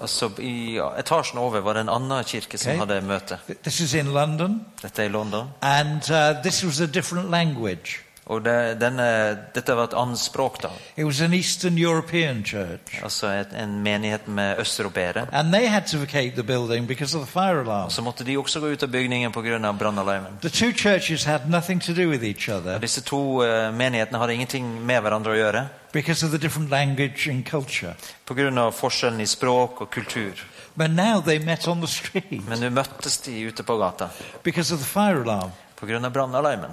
Speaker 2: Og så I etasjen over var det en annen kirke som
Speaker 1: Ok.
Speaker 2: hadde møte.
Speaker 1: Th- This is in London,
Speaker 2: Dette er i London.
Speaker 1: and uh, this was a different language.
Speaker 2: Og det, denne, dette var et annet språk, da.
Speaker 1: It was an Eastern European church.
Speaker 2: Altså et, en menighet med østeuropeere.
Speaker 1: And they had to vacate the building because of the fire alarm.
Speaker 2: Så måtte de også gå ut av bygningen pga. brannalarmen.
Speaker 1: The two churches had nothing to do with each other
Speaker 2: Disse to eh, menighetene hadde ingenting med hverandre å gjøre
Speaker 1: because of the different language and culture.
Speaker 2: pga. forskjellen i språk og kultur.
Speaker 1: But now they met on the street
Speaker 2: Men nå møttes de ute på gata
Speaker 1: because of the fire alarm.
Speaker 2: pga. brannalarmen.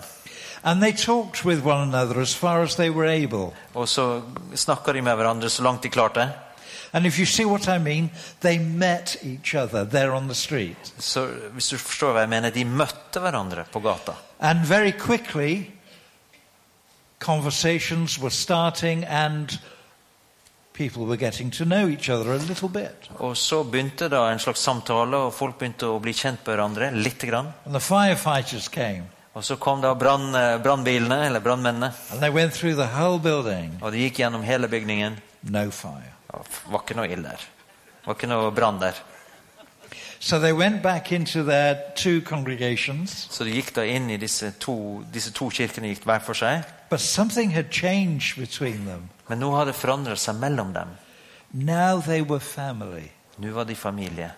Speaker 1: And they talked with one another as far as they were able.
Speaker 2: Og så snakka de med hverandre så langt de klarte.
Speaker 1: And if you see what I mean, they met each other there on the street.
Speaker 2: Så hvis du forstår hva jeg mener, de møtte hverandre på gata.
Speaker 1: And very quickly, conversations were starting and people were getting to know each other a little bit.
Speaker 2: Og så begynte da en slags samtale, og folk begynte å bli kjent med hverandre lite grann.
Speaker 1: And the firefighters came
Speaker 2: Og så kom da brann- eh, brannbilene, eller brannmennene,
Speaker 1: and they went through the whole building.
Speaker 2: og de gikk gjennom hele bygningen.
Speaker 1: No fire.
Speaker 2: Og Det var ikke noe ild der. Det var ikke noe brann der.
Speaker 1: So they went back into their two congregations,
Speaker 2: Så de gikk da inn i disse to, disse to kirkene gikk hver for seg.
Speaker 1: but something had changed between them.
Speaker 2: Men nå har det forandret seg mellom dem.
Speaker 1: Now they were family
Speaker 2: Nå var de familie.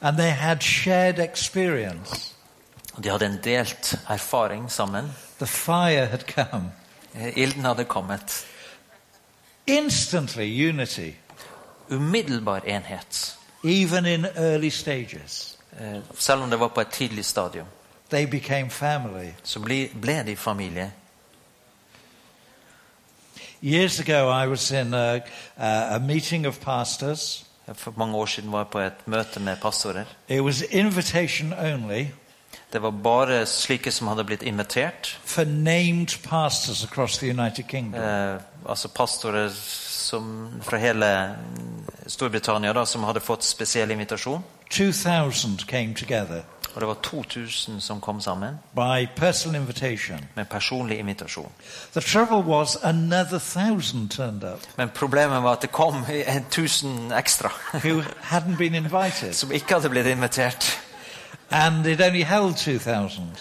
Speaker 1: and they had shared experience.
Speaker 2: Og de hadde en delt erfaring sammen.
Speaker 1: The fire had come.
Speaker 2: Eh, Ilden hadde kommet.
Speaker 1: Instantly, unity,
Speaker 2: Umiddelbar enhet.
Speaker 1: even in early stages.
Speaker 2: Eh, Selv om det var på et tidlig stadium,
Speaker 1: They became family.
Speaker 2: så ble, ble de familie.
Speaker 1: Years ago, I was in a, a, a meeting of pastors.
Speaker 2: For mange år siden var jeg på et møte med pastorer.
Speaker 1: It was invitation only
Speaker 2: Det var bare slike som hadde blitt invitert.
Speaker 1: for named pastors across the United Kingdom.
Speaker 2: Eh, altså pastorer som, fra hele mm, Storbritannia da, som hadde fått spesiell invitasjon.
Speaker 1: 2,000 came together.
Speaker 2: Og det var 2000 som kom sammen
Speaker 1: by personal invitation.
Speaker 2: med personlig invitasjon.
Speaker 1: The trouble was another thousand turned up
Speaker 2: Men problemet var at det kom 1000 ekstra
Speaker 1: who hadn't been invited,
Speaker 2: som ikke hadde blitt invitert.
Speaker 1: and it only held 2,000.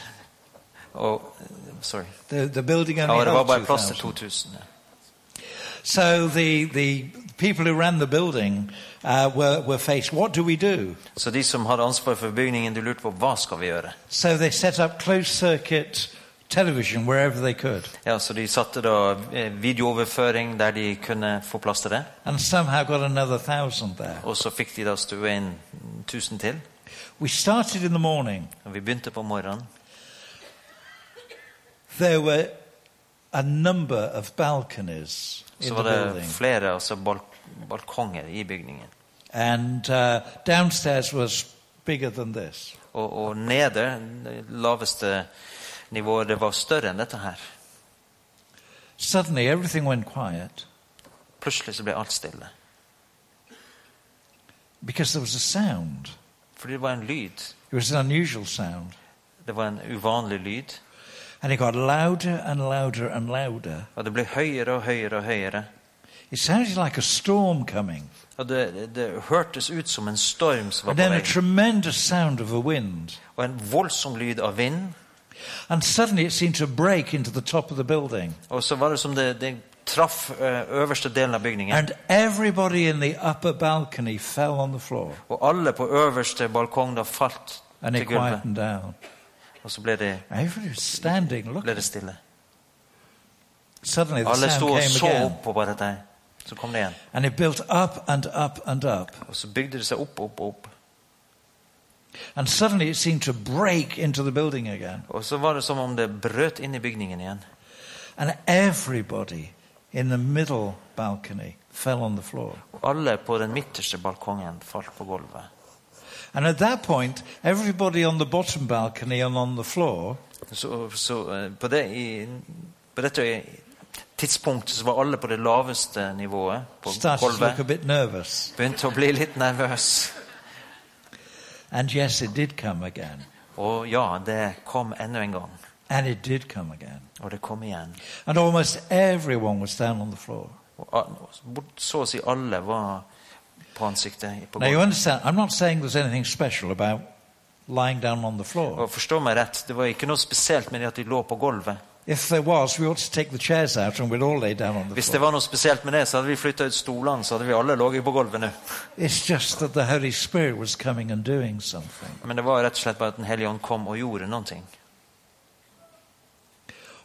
Speaker 2: Og, sorry.
Speaker 1: The, the building
Speaker 2: Ja,
Speaker 1: only
Speaker 2: det var
Speaker 1: held
Speaker 2: bare plass til
Speaker 1: 2,000.
Speaker 2: 2000. ja.
Speaker 1: So the, the people who ran the building uh, were, were faced, what do we do?
Speaker 2: Så de som hadde ansvar for bygningen, de lurte på hva skal vi gjøre.
Speaker 1: So they set up closed circuit television wherever they could
Speaker 2: Ja, Så de satte da eh, videooverføring der de kunne få plass til det.
Speaker 1: and somehow got another thousand there.
Speaker 2: Og så fikk de da stue inn 1000 til.
Speaker 1: We started in the morning.
Speaker 2: Og vi begynte på morgenen.
Speaker 1: There were a number of balconies in
Speaker 2: Så
Speaker 1: the
Speaker 2: var det
Speaker 1: building.
Speaker 2: flere altså balk balkonger i bygningen.
Speaker 1: And uh, downstairs was bigger than this.
Speaker 2: Og, og nede, det laveste nivået, det var større enn dette her.
Speaker 1: Suddenly everything went quiet
Speaker 2: Plutselig så ble alt stille.
Speaker 1: because there was a sound.
Speaker 2: Fordi det var en lyd.
Speaker 1: It was an unusual sound.
Speaker 2: Det var en uvanlig lyd.
Speaker 1: And it got louder and louder and louder.
Speaker 2: Og det ble høyere og høyere og høyere.
Speaker 1: It sounded like a storm coming.
Speaker 2: Og det, det hørtes ut som en storm som var
Speaker 1: And
Speaker 2: på
Speaker 1: then a
Speaker 2: vei.
Speaker 1: tremendous sound of the wind.
Speaker 2: Og en voldsom lyd av vind.
Speaker 1: And suddenly it seemed to break into the top of the building.
Speaker 2: Og så var det som det, det traff eh, øverste delen av bygningen.
Speaker 1: And everybody in the upper balcony fell on the floor.
Speaker 2: Og alle på øverste balkong da falt
Speaker 1: And
Speaker 2: til
Speaker 1: it
Speaker 2: gulvet.
Speaker 1: quietened down.
Speaker 2: Og så ble det,
Speaker 1: Everybody was standing,
Speaker 2: ble
Speaker 1: looking.
Speaker 2: det stille.
Speaker 1: Suddenly the sound
Speaker 2: Alle sto og
Speaker 1: came
Speaker 2: så
Speaker 1: again.
Speaker 2: på bare dette. her. Så kom det igjen.
Speaker 1: And it built up and up and up.
Speaker 2: Og så bygde det seg opp og opp og opp.
Speaker 1: And suddenly it seemed to break into the building again.
Speaker 2: Og så var det som om det brøt inn i bygningen igjen.
Speaker 1: And everybody in the middle balcony fell on the floor.
Speaker 2: Og alle på den midterste balkongen falt på gulvet.
Speaker 1: And at that point, everybody on the bottom balcony and on the floor
Speaker 2: Så, så eh, på, det, i, på dette tidspunktet så var alle på det laveste nivået på
Speaker 1: started to look a
Speaker 2: gulvet.
Speaker 1: bit nervous.
Speaker 2: Begynte å bli litt nervøs.
Speaker 1: And yes, it did come again.
Speaker 2: Og ja, det kom enda en gang.
Speaker 1: And it did come again.
Speaker 2: Og det kom igjen.
Speaker 1: And almost everyone was down on the floor.
Speaker 2: Og a- bort- så å si alle var på ansiktet på
Speaker 1: Now, you
Speaker 2: gulvet.
Speaker 1: understand, I'm not saying there's anything special about lying down on the floor.
Speaker 2: Og forstå meg rett, det var ikke noe spesielt med det at de lå på gulvet.
Speaker 1: If there was, we ought to take the chairs out and we'd all lay down on the
Speaker 2: Hvis
Speaker 1: floor.
Speaker 2: det var noe spesielt med det, så hadde vi flytta ut stolene, så hadde vi alle ligget på gulvet nå.
Speaker 1: It's just that the Holy Spirit was coming and doing something.
Speaker 2: Men det var rett og slett bare at Den hellige ånd kom og gjorde noen ting.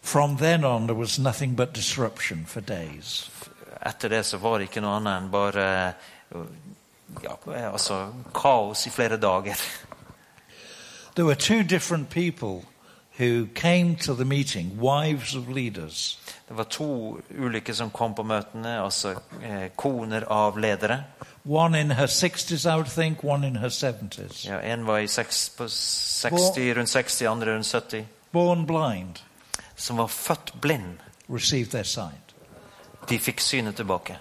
Speaker 1: From then on, there was nothing but disruption for days.
Speaker 2: Etter det så var det ikke noe annet enn bare ja, altså kaos i flere dager.
Speaker 1: There were two different people who came to the meeting, wives of leaders.
Speaker 2: Det var to ulykker som kom på møtene, altså eh, koner av ledere.
Speaker 1: One in her 60s, I would think, one in her 70s.
Speaker 2: Ja, en var i seks, på 60, rundt 60, andre rundt 70.
Speaker 1: Born blind,
Speaker 2: Som var født blind.
Speaker 1: received their sight.
Speaker 2: De fikk synet tilbake.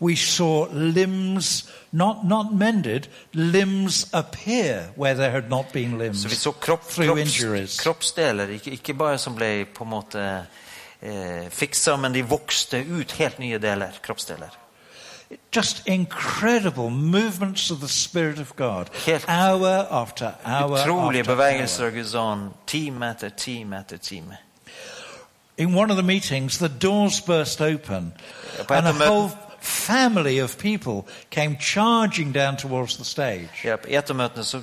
Speaker 1: We saw limbs, not, not mended, limbs appear where there had not been limbs.
Speaker 2: Så vi så kropp,
Speaker 1: Through
Speaker 2: kropps,
Speaker 1: injuries.
Speaker 2: kroppsdeler, ikke, ikke bare som ble på en måte eh, fiksa, men de vokste ut helt nye deler, kroppsdeler.
Speaker 1: Just incredible movements of the Spirit of God,
Speaker 2: Helt-
Speaker 1: hour after hour.
Speaker 2: Utrolige
Speaker 1: after hour.
Speaker 2: bevegelser av Guds ånd. Time etter time etter time.
Speaker 1: In one of the meetings, the doors burst open,
Speaker 2: På
Speaker 1: and a
Speaker 2: et av møtene-
Speaker 1: whole family of people came charging down towards the stage.
Speaker 2: Ja, på etermøtene så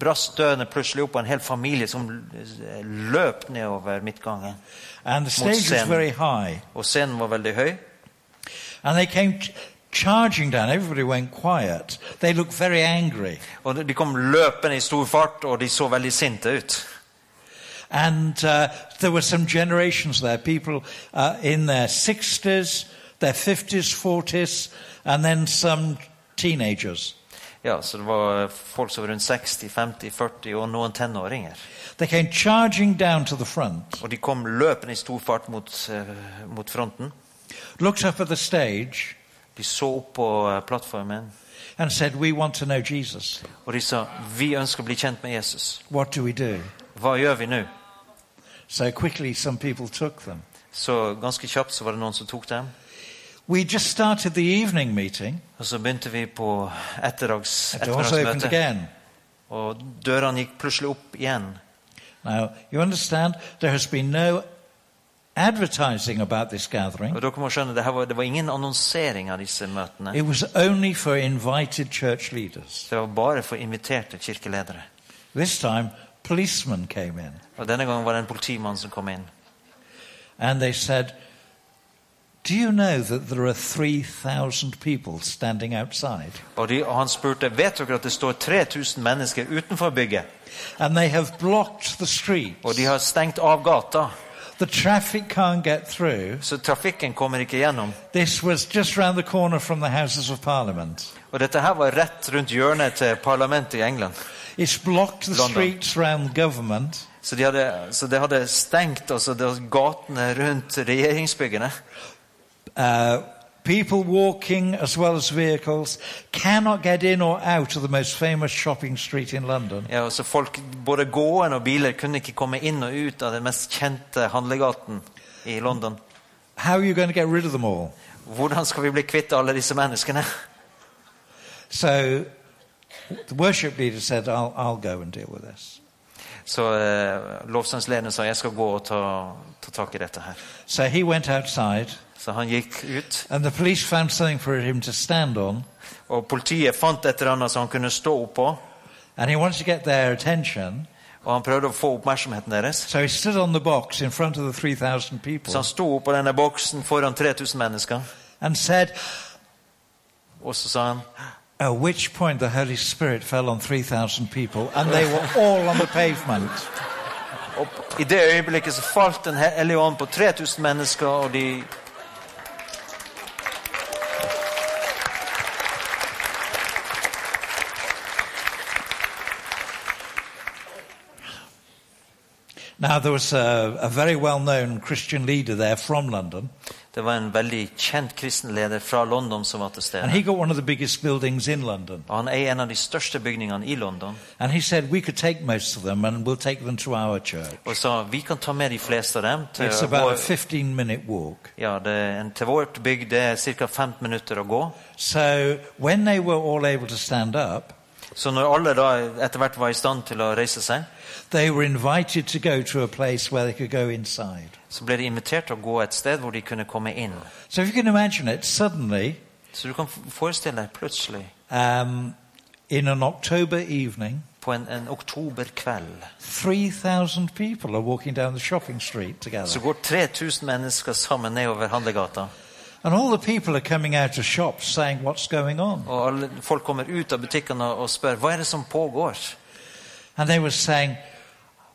Speaker 2: brast dørene plutselig opp, og en hel familie som eh, løp nedover midtgangen.
Speaker 1: And the stage was
Speaker 2: scenen.
Speaker 1: very high.
Speaker 2: Og scenen var veldig høy.
Speaker 1: And they came ch- charging down. Everybody went quiet. They looked very angry.
Speaker 2: Og de kom løpende i stor fart, og de så veldig sinte ut.
Speaker 1: And uh, there were some generations there people uh, in their 60s, their 50s, 40s, and then some teenagers.
Speaker 2: Ja, så det var folk som var rundt 60, 50, 40 og noen tenåringer.
Speaker 1: They came charging down to the front,
Speaker 2: Og de kom løpende i stor fart mot, eh, mot fronten.
Speaker 1: looked up at the stage,
Speaker 2: De så opp på eh, plattformen,
Speaker 1: and said, We want to know Jesus.
Speaker 2: Og de sa vi ønsker å bli kjent med Jesus.
Speaker 1: What do we do?
Speaker 2: Hva gjør vi nå?
Speaker 1: So quickly, some people took them.
Speaker 2: Så ganske kjapt så var det noen som tok dem.
Speaker 1: We just started the evening meeting.
Speaker 2: Og så begynte vi på etterdags,
Speaker 1: The doors opened
Speaker 2: ettermiddagsmøte.
Speaker 1: again.
Speaker 2: Og dørene gikk plutselig opp igjen.
Speaker 1: Now, you understand, there has been no advertising about this gathering.
Speaker 2: Og dere må skjønne, det, her var, det var ingen annonsering av disse møtene.
Speaker 1: It was only for invited church leaders.
Speaker 2: Det var bare for inviterte kirkeledere.
Speaker 1: This time, policemen came in
Speaker 2: Og denne gangen var det en politimann som kom inn.
Speaker 1: and they said, Do you know that there are 3,000 people standing outside?
Speaker 2: Og, de, og han spurte vet dere at det står 3000 mennesker utenfor bygget.
Speaker 1: And they have blocked the streets.
Speaker 2: Og de har stengt av gata,
Speaker 1: The traffic can't get through.
Speaker 2: så trafikken kommer ikke gjennom.
Speaker 1: This was just round the corner from the Houses of Parliament.
Speaker 2: Og dette her var rett rundt hjørnet til parlamentet i England.
Speaker 1: It's blocked the
Speaker 2: London.
Speaker 1: streets round government.
Speaker 2: Så de hadde, så de hadde stengt altså, de hadde gatene rundt regjeringsbyggene.
Speaker 1: Uh, people walking as well as vehicles cannot get in or out of the most famous shopping street in London.
Speaker 2: Ja, og så folk, både gående og biler kunne ikke komme inn og ut av den mest kjente handlegaten i London.
Speaker 1: How are you going to get rid of them all?
Speaker 2: Hvordan skal vi bli kvitt alle disse menneskene?
Speaker 1: So the worship leader said, I'll, I'll go and deal with this.
Speaker 2: Så eh, lovsangslederen sa jeg skal gå og ta, ta tak i dette her.
Speaker 1: So he went outside,
Speaker 2: Så han gikk ut,
Speaker 1: and the police found something for him to stand on,
Speaker 2: og politiet fant et eller annet som han kunne stå oppå.
Speaker 1: and he wanted to get their attention.
Speaker 2: Og han prøvde å få oppmerksomheten deres.
Speaker 1: So he stood on the box in front of the 3,000 people
Speaker 2: Så han sto oppå denne boksen foran 3000 mennesker,
Speaker 1: and said,
Speaker 2: og så sa han
Speaker 1: At which point the Holy Spirit fell on 3,000 people, and they were all on the pavement.
Speaker 2: Og I det øyeblikket så falt Den hellige ånd på 3000 mennesker, og de
Speaker 1: Now, there was a, a very well known Christian leader there from London,
Speaker 2: Det var en veldig kjent kristen leder fra London som var til
Speaker 1: and
Speaker 2: stede.
Speaker 1: he got one of the biggest buildings in London.
Speaker 2: Og han eier en av de største bygningene i London
Speaker 1: And he said, We could take most of them, and we'll take them to our church.
Speaker 2: og sa vi kan ta med de fleste av dem til,
Speaker 1: It's about a
Speaker 2: vår,
Speaker 1: 15 minute walk.
Speaker 2: ja, det, er en, til vårt bygg. Det er ca. 15 minutter å gå.
Speaker 1: So, when they were all able to stand up,
Speaker 2: Så når alle da etter hvert var i stand til å reise seg,
Speaker 1: they were invited to go to a place where they could go inside.
Speaker 2: så ble de invitert til å gå et sted hvor de kunne komme inn.
Speaker 1: So, if you can imagine it, suddenly,
Speaker 2: Så du kan f- forestille deg plutselig
Speaker 1: um, in an October evening,
Speaker 2: på en, en oktoberkveld
Speaker 1: 3,000 people are walking down the shopping street
Speaker 2: så
Speaker 1: together.
Speaker 2: går 3000 mennesker sammen nedover handlegata.
Speaker 1: And all the people are coming out of shops saying, What's going on?
Speaker 2: Og alle, folk kommer ut av butikkene og spør hva er det som pågår.
Speaker 1: And they were saying,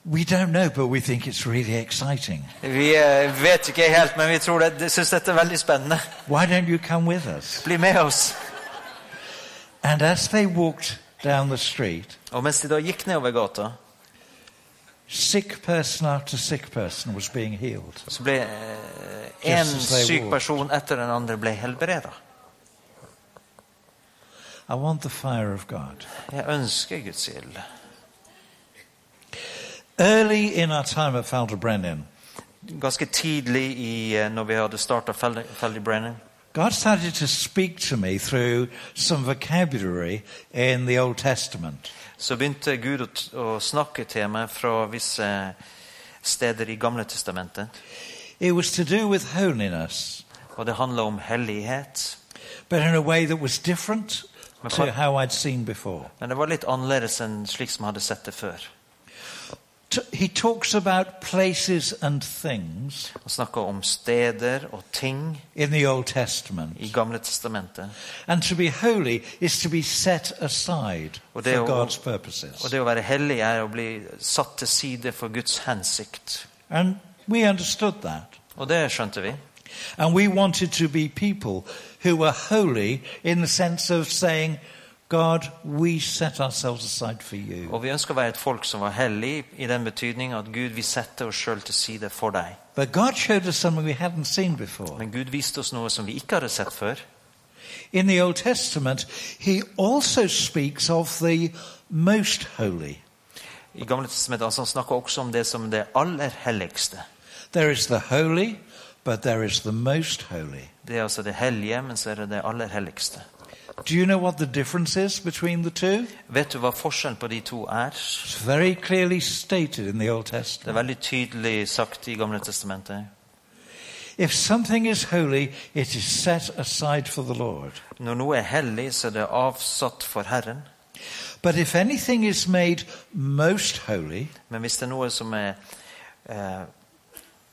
Speaker 1: We don't know, but we think it's really exciting.
Speaker 2: Vi eh, vet ikke helt, men vi tror det, det syns dette er veldig spennende.
Speaker 1: Why don't you come with us?
Speaker 2: Bli med oss.
Speaker 1: And as they walked down the street,
Speaker 2: Og mens de da gikk nedover gata,
Speaker 1: sick person after sick person was being healed.
Speaker 2: så ble én
Speaker 1: Jesus, they
Speaker 2: syk
Speaker 1: walked.
Speaker 2: person etter den andre ble helbreda.
Speaker 1: I want the fire of God.
Speaker 2: Jeg ønsker Guds ild.
Speaker 1: Early in our time at Falderbrennen,
Speaker 2: Ganske tidlig i, eh, når vi hadde starta Feldibrennen,
Speaker 1: God started to speak to me through some vocabulary in the Old Testament.
Speaker 2: så begynte Gud å, t- å snakke til meg fra visse eh, steder i Gamle testamentet.
Speaker 1: It was to do with holiness,
Speaker 2: Og det handla om hellighet.
Speaker 1: but in a way that was different
Speaker 2: My
Speaker 1: to
Speaker 2: point-
Speaker 1: how I'd seen before.
Speaker 2: Men det var litt annerledes enn slik som jeg hadde sett det før.
Speaker 1: T- He talks about places and things
Speaker 2: Han snakka om steder og ting
Speaker 1: in the Old Testament.
Speaker 2: i Gamle testamentet.
Speaker 1: And to be holy is to be set aside for
Speaker 2: Och det är-
Speaker 1: God's
Speaker 2: Og
Speaker 1: purposes.
Speaker 2: det å være hellig er å bli satt til side for Guds hensikt.
Speaker 1: And we understood that.
Speaker 2: Og det skjønte vi.
Speaker 1: And we wanted to be people who were holy in the sense of saying, God, we set ourselves aside for you.
Speaker 2: Og vi ønsker å være et folk som var hellig, i den betydning at Gud, vi setter oss sjøl til side for deg.
Speaker 1: But God showed us something we hadn't seen before.
Speaker 2: Men Gud viste oss noe som vi ikke hadde sett før.
Speaker 1: In the Old Testament, he also speaks of the most holy.
Speaker 2: I Gamle testamentet altså, han snakker også om det som det aller helligste.
Speaker 1: There is the holy, but there is the most holy.
Speaker 2: Det er altså det hellige, men så er det det aller helligste.
Speaker 1: Do you know what the difference is between the two?
Speaker 2: Vet du hva forskjellen på de to er?
Speaker 1: It's very clearly stated in the Old
Speaker 2: Det
Speaker 1: Testament.
Speaker 2: er veldig tydelig sagt i Gamle testamentet.
Speaker 1: If something is holy, it is set aside for the Lord.
Speaker 2: Når noe er hellig, så er det avsatt for Herren.
Speaker 1: But if anything is made most holy,
Speaker 2: Men hvis det er noe som er eh,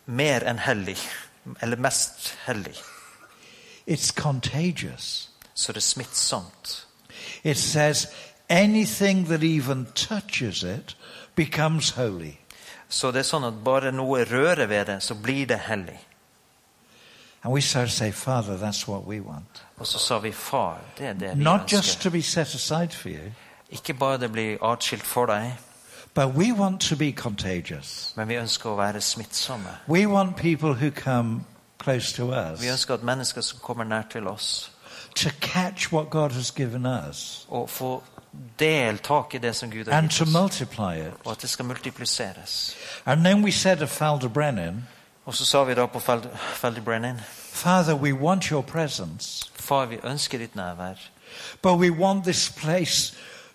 Speaker 2: mer enn hellig, eller mest hellig,
Speaker 1: it's contagious.
Speaker 2: så er det smittsomt.
Speaker 1: It says anything that even touches it becomes holy.
Speaker 2: Så det er sånn at bare noe rører ved det, så blir det hellig.
Speaker 1: And we start to say, Father, that's what we want.
Speaker 2: Og så sa vi far, det er det vi
Speaker 1: Not just
Speaker 2: ønsker.
Speaker 1: to be set aside for you,
Speaker 2: Ikke bare det blir atskilt for deg,
Speaker 1: but we want to be contagious.
Speaker 2: men vi ønsker å være smittsomme.
Speaker 1: We want people who come close to
Speaker 2: Vi
Speaker 1: us
Speaker 2: ønsker at mennesker som kommer nær til oss,
Speaker 1: to catch what God has given us
Speaker 2: å få del tak i det som Gud har
Speaker 1: and to
Speaker 2: gitt oss,
Speaker 1: multiply it.
Speaker 2: og at det skal multipliseres.
Speaker 1: And then we said of Falder Brennan,
Speaker 2: Og så sa vi da på Feld- Feldebrennen,
Speaker 1: Father, we want your presence,
Speaker 2: far, vi ønsker ditt nærvær,
Speaker 1: but we want this place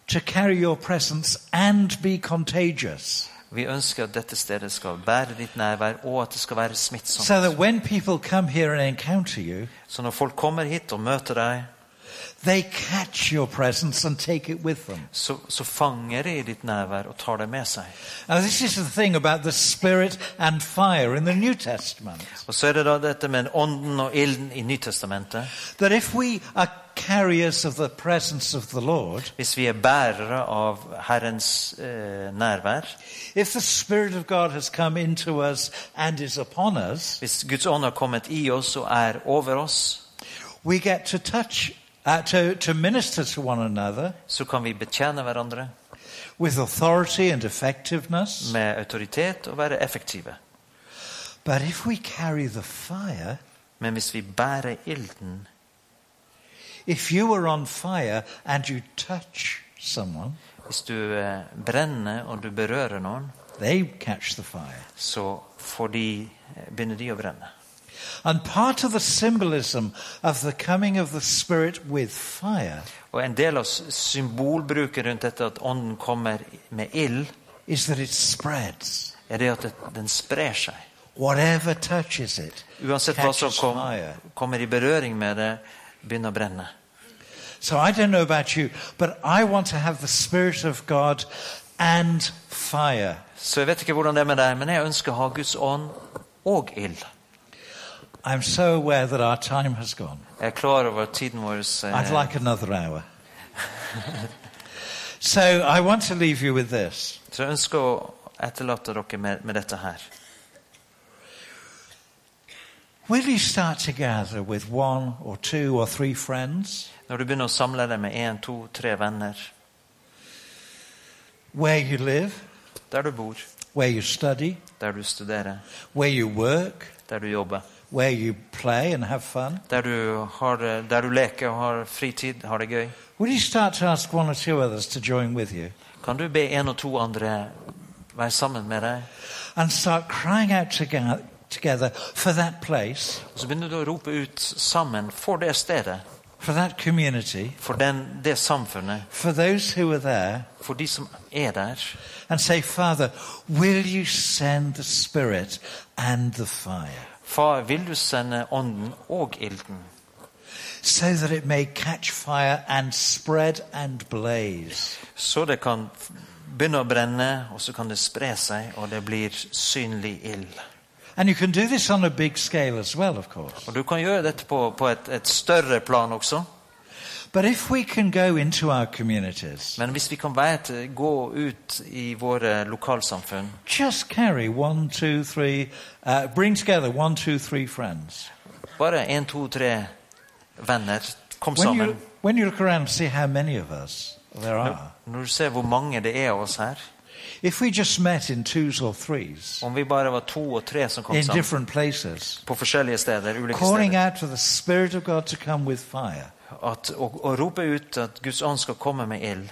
Speaker 1: to carry your presence and be contagious.
Speaker 2: Vi ønsker at dette stedet skal bære ditt nærvær, og at det skal være
Speaker 1: So that
Speaker 2: smittsomt.
Speaker 1: when people come here and encounter you,
Speaker 2: Så når folk kommer hit og møter deg,
Speaker 1: they catch your presence and take it with them.
Speaker 2: så, så fanger de ditt nærvær og tar det med seg.
Speaker 1: Now, this is the thing about the Spirit and fire in the New Testament.
Speaker 2: Og så er det da dette med ånden og ilden i Nytestamentet.
Speaker 1: That if we are carriers of the presence of the Lord,
Speaker 2: Hvis vi er bærere av Herrens eh, nærvær,
Speaker 1: if the Spirit of God has come into us and is upon us,
Speaker 2: hvis Guds ånd har kommet i oss og er over oss,
Speaker 1: we get to touch, uh, to, to minister to one another
Speaker 2: så kan vi betjene hverandre
Speaker 1: with authority and effectiveness.
Speaker 2: med autoritet og være effektive.
Speaker 1: But if we carry the fire,
Speaker 2: Men hvis vi bærer ilden
Speaker 1: if you are on fire and you touch someone,
Speaker 2: Hvis du eh, brenner og du berører noen,
Speaker 1: they catch the fire.
Speaker 2: så får de, eh, begynner de å brenne.
Speaker 1: And part of the symbolism of the coming of the Spirit with fire
Speaker 2: Og en del av s- symbolbruket rundt dette at ånden kommer med ild,
Speaker 1: is that it spreads.
Speaker 2: er det at det, den sprer seg.
Speaker 1: Whatever touches it
Speaker 2: Uansett hva som
Speaker 1: catches
Speaker 2: kom,
Speaker 1: fire.
Speaker 2: kommer i berøring med det, begynner å brenne.
Speaker 1: So I don't know about you, but I want to have the Spirit of God and fire.
Speaker 2: Så jeg vet ikke hvordan det er med deg, men jeg ønsker å ha Guds ånd og ild.
Speaker 1: I'm so aware that our time has gone.
Speaker 2: Jeg er klar over at tiden vår
Speaker 1: I'd
Speaker 2: eh,
Speaker 1: like another hour. so I want to leave you with this.
Speaker 2: Så jeg ønsker å etterlate dere med, med dette her.
Speaker 1: Will you start to gather with one or two or three friends
Speaker 2: Når du begynner å samle deg med én, to, tre venner
Speaker 1: where you live,
Speaker 2: der du bor,
Speaker 1: where you study,
Speaker 2: der du studerer,
Speaker 1: where you work,
Speaker 2: der du jobber,
Speaker 1: where you play and have fun?
Speaker 2: der du, har, der du leker og har fritid, har det gøy,
Speaker 1: Will you start to ask one or two others to join with you
Speaker 2: kan du be en og to andre være sammen med deg?
Speaker 1: and start crying out toga- together for that place,
Speaker 2: Og så begynner du å rope ut sammen for det stedet,
Speaker 1: for that community,
Speaker 2: for den, det samfunnet,
Speaker 1: for those who are there,
Speaker 2: for de som er der,
Speaker 1: and say, Father, will you send the Spirit and the fire
Speaker 2: Far, vil du sende ånden og ilden,
Speaker 1: so that it may catch fire and spread and blaze?
Speaker 2: så det kan begynne å brenne, og så kan det spre seg, og det blir synlig ild.
Speaker 1: And you can do this on a big scale as well, of course.
Speaker 2: Og du kan gjøre dette på, på et, et større plan også,
Speaker 1: But if we can go into our communities,
Speaker 2: men hvis vi kan være til, gå ut i våre lokalsamfunn,
Speaker 1: Just carry one, two, three, uh, bring together one, two, three friends.
Speaker 2: Bare én, to, tre venner. Kom
Speaker 1: When you,
Speaker 2: sammen.
Speaker 1: when you look around and see how many of us there are,
Speaker 2: Når du ser hvor mange det er av oss her
Speaker 1: if we just met in twos or threes
Speaker 2: Om vi bare var to og tre som kom
Speaker 1: in
Speaker 2: sammen
Speaker 1: different places,
Speaker 2: på forskjellige steder, ulike
Speaker 1: calling
Speaker 2: steder
Speaker 1: out to the Spirit of God to come with fire,
Speaker 2: at, og, og rope ut at Guds ånd skal komme med ild.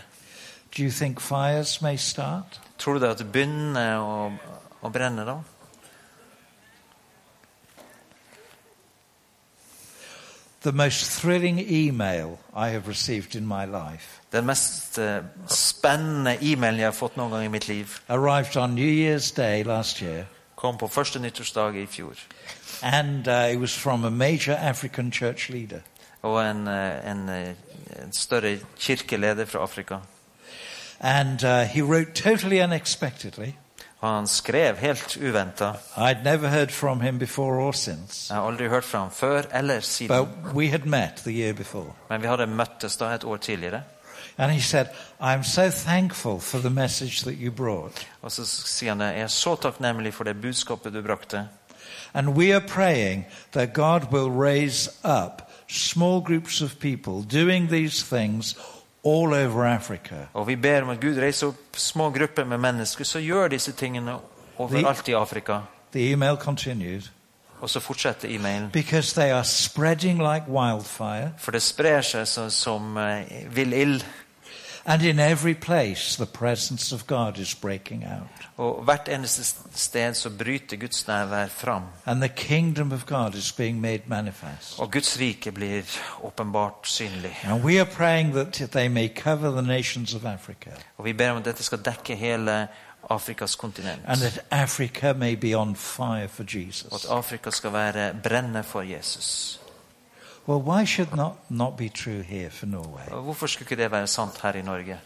Speaker 1: Do you think fires may start?
Speaker 2: Tror du det at det begynner å, å brenne da?
Speaker 1: The most thrilling email I have received in my life
Speaker 2: Den mest eh, spennende e-mailen jeg har fått noen gang i mitt liv,
Speaker 1: arrived on New Year's Day last year,
Speaker 2: kom på første nyttårsdag i fjor.
Speaker 1: and uh, it was from a major African church leader.
Speaker 2: Og en, eh, en, eh, en større kirkeleder fra Afrika.
Speaker 1: And uh, he wrote totally unexpectedly.
Speaker 2: Han skrev helt uventa.
Speaker 1: I'd never heard from him before or since,
Speaker 2: Jeg har aldri hørt fra ham før eller siden.
Speaker 1: but we had met the year before.
Speaker 2: Men vi hadde møttes da et år tidligere.
Speaker 1: And he said, I'm so thankful for the message that you brought.
Speaker 2: Og så sier han jeg er så takknemlig for det budskapet du brakte.
Speaker 1: And we are praying that God will raise up small groups of people doing these things all over Africa.
Speaker 2: Og vi ber om at Gud reiser opp små grupper med mennesker som gjør disse tingene overalt i Afrika.
Speaker 1: The email continued
Speaker 2: Og så fortsetter e-mailen.
Speaker 1: because they are spreading like wildfire,
Speaker 2: For det sprer seg så, som eh, vill ild.
Speaker 1: and in every place the presence of God is breaking out,
Speaker 2: Og hvert eneste sted så bryter Guds nærvær fram.
Speaker 1: and the kingdom of God is being made manifest.
Speaker 2: Og Guds rike blir åpenbart synlig.
Speaker 1: And we are praying that they may cover the nations of Africa,
Speaker 2: Og vi ber om at dette skal dekke hele Afrikas kontinent.
Speaker 1: and that Africa may be on fire for
Speaker 2: Og at
Speaker 1: Jesus.
Speaker 2: Afrika skal være brenne for Jesus.
Speaker 1: Well, why should not not be true here for Norway?
Speaker 2: Og hvorfor skulle ikke det være sant her i Norge?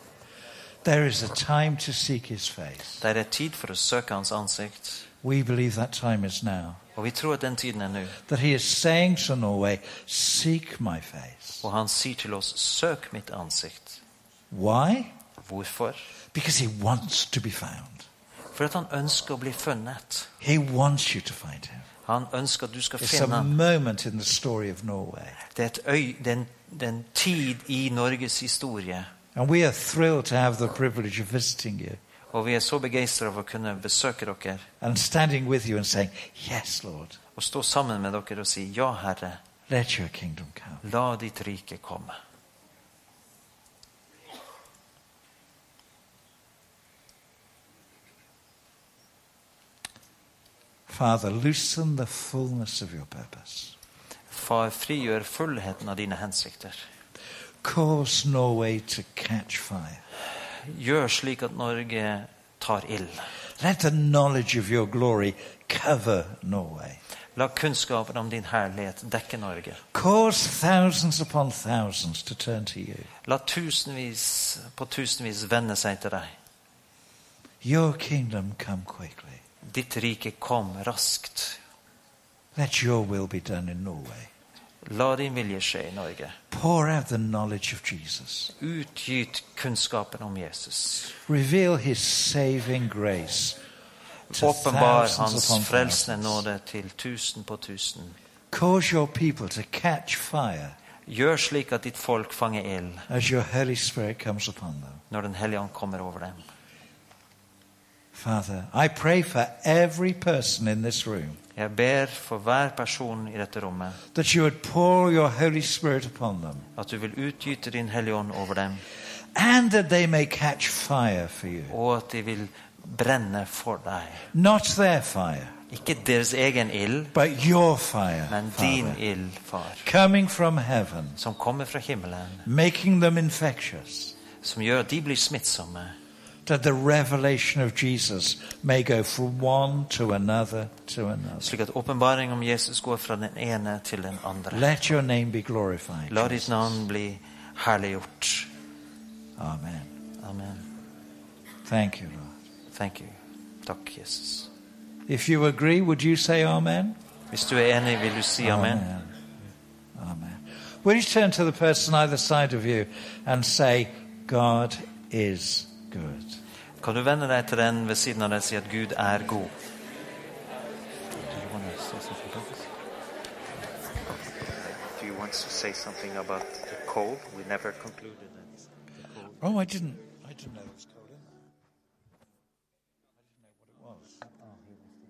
Speaker 1: There is a time to seek his face.
Speaker 2: Det er tid for å søke hans ansikt.
Speaker 1: We believe that time is now.
Speaker 2: Og vi tror at den tiden er nå.
Speaker 1: That he is saying to Norway, Seek my face.
Speaker 2: Og han sier til oss, søk mitt ansikt.
Speaker 1: Why?
Speaker 2: Hvorfor?
Speaker 1: Because he wants to be found.
Speaker 2: For at han ønsker å bli funnet.
Speaker 1: He wants you to find him.
Speaker 2: Han ønsker at du skal
Speaker 1: It's a
Speaker 2: finne ham.
Speaker 1: moment in the story of Norway.
Speaker 2: Det er, et øy, det, er en, det er en tid i Norges historie.
Speaker 1: And we are thrilled to have the privilege of visiting you
Speaker 2: Og vi er så begeistra over å kunne besøke dere
Speaker 1: and standing with you and saying, Yes, Lord,
Speaker 2: og stå sammen med dere og si ja, Herre,
Speaker 1: let your kingdom come.
Speaker 2: la ditt rike komme.
Speaker 1: Father, loosen the fullness of your purpose.
Speaker 2: Far, frigjør fullheten av dine hensikter.
Speaker 1: Cause Norway to catch fire.
Speaker 2: Gjør slik at Norge tar ild.
Speaker 1: Let the knowledge of your glory cover Norway.
Speaker 2: La kunnskapen om din herlighet dekke Norge.
Speaker 1: Cause thousands upon thousands to turn to you.
Speaker 2: La tusenvis på tusenvis vende seg til deg.
Speaker 1: Your kingdom come quickly.
Speaker 2: Ditt rike kom raskt.
Speaker 1: Let your will be done in Norway.
Speaker 2: La din vilje skje i Norge.
Speaker 1: Pour out the knowledge of Jesus.
Speaker 2: Utgyt kunnskapen om Jesus.
Speaker 1: Reveal his saving grace to
Speaker 2: Åpenbar
Speaker 1: thousands
Speaker 2: hans
Speaker 1: upon
Speaker 2: frelsende
Speaker 1: thousands.
Speaker 2: nåde til tusen på tusen.
Speaker 1: Cause your people to catch fire
Speaker 2: Gjør slik at ditt folk fanger ild
Speaker 1: as your Holy Spirit comes upon them.
Speaker 2: når Den hellige ånd kommer over dem.
Speaker 1: Father, I pray for every person in this room
Speaker 2: Jeg ber for hver person i dette rommet
Speaker 1: that you would pour your Holy Spirit upon them.
Speaker 2: at du vil utgyte Din hellige ånd over dem,
Speaker 1: and that they may catch fire for you.
Speaker 2: og at de vil brenne for deg.
Speaker 1: Not their fire,
Speaker 2: Ikke deres egen ild,
Speaker 1: but your fire,
Speaker 2: men din
Speaker 1: Father,
Speaker 2: ild, far,
Speaker 1: coming from heaven,
Speaker 2: som kommer fra himmelen,
Speaker 1: making them infectious,
Speaker 2: som gjør at de blir smittsomme,
Speaker 1: that the revelation of Jesus may go from one to another to another.
Speaker 2: slik at åpenbaring om Jesus går fra den ene til den andre.
Speaker 1: Let your name be glorified.
Speaker 2: La
Speaker 1: Jesus.
Speaker 2: ditt navn bli herliggjort.
Speaker 1: Amen.
Speaker 2: Amen.
Speaker 1: Thank you, Lord.
Speaker 2: Thank you. Takk, Jesus.
Speaker 1: If you agree, would you say amen?
Speaker 2: Hvis du er enig, vil du si amen?
Speaker 1: Amen. Amen. Will you turn to the person either side of you and say, God is good?
Speaker 2: Kan du vende deg til den ved siden av deg og si at Gud er god? Do you want to say something about the cold? We never concluded that.
Speaker 1: Oh, I didn't. I didn't know it was cold in there. I didn't know what it was.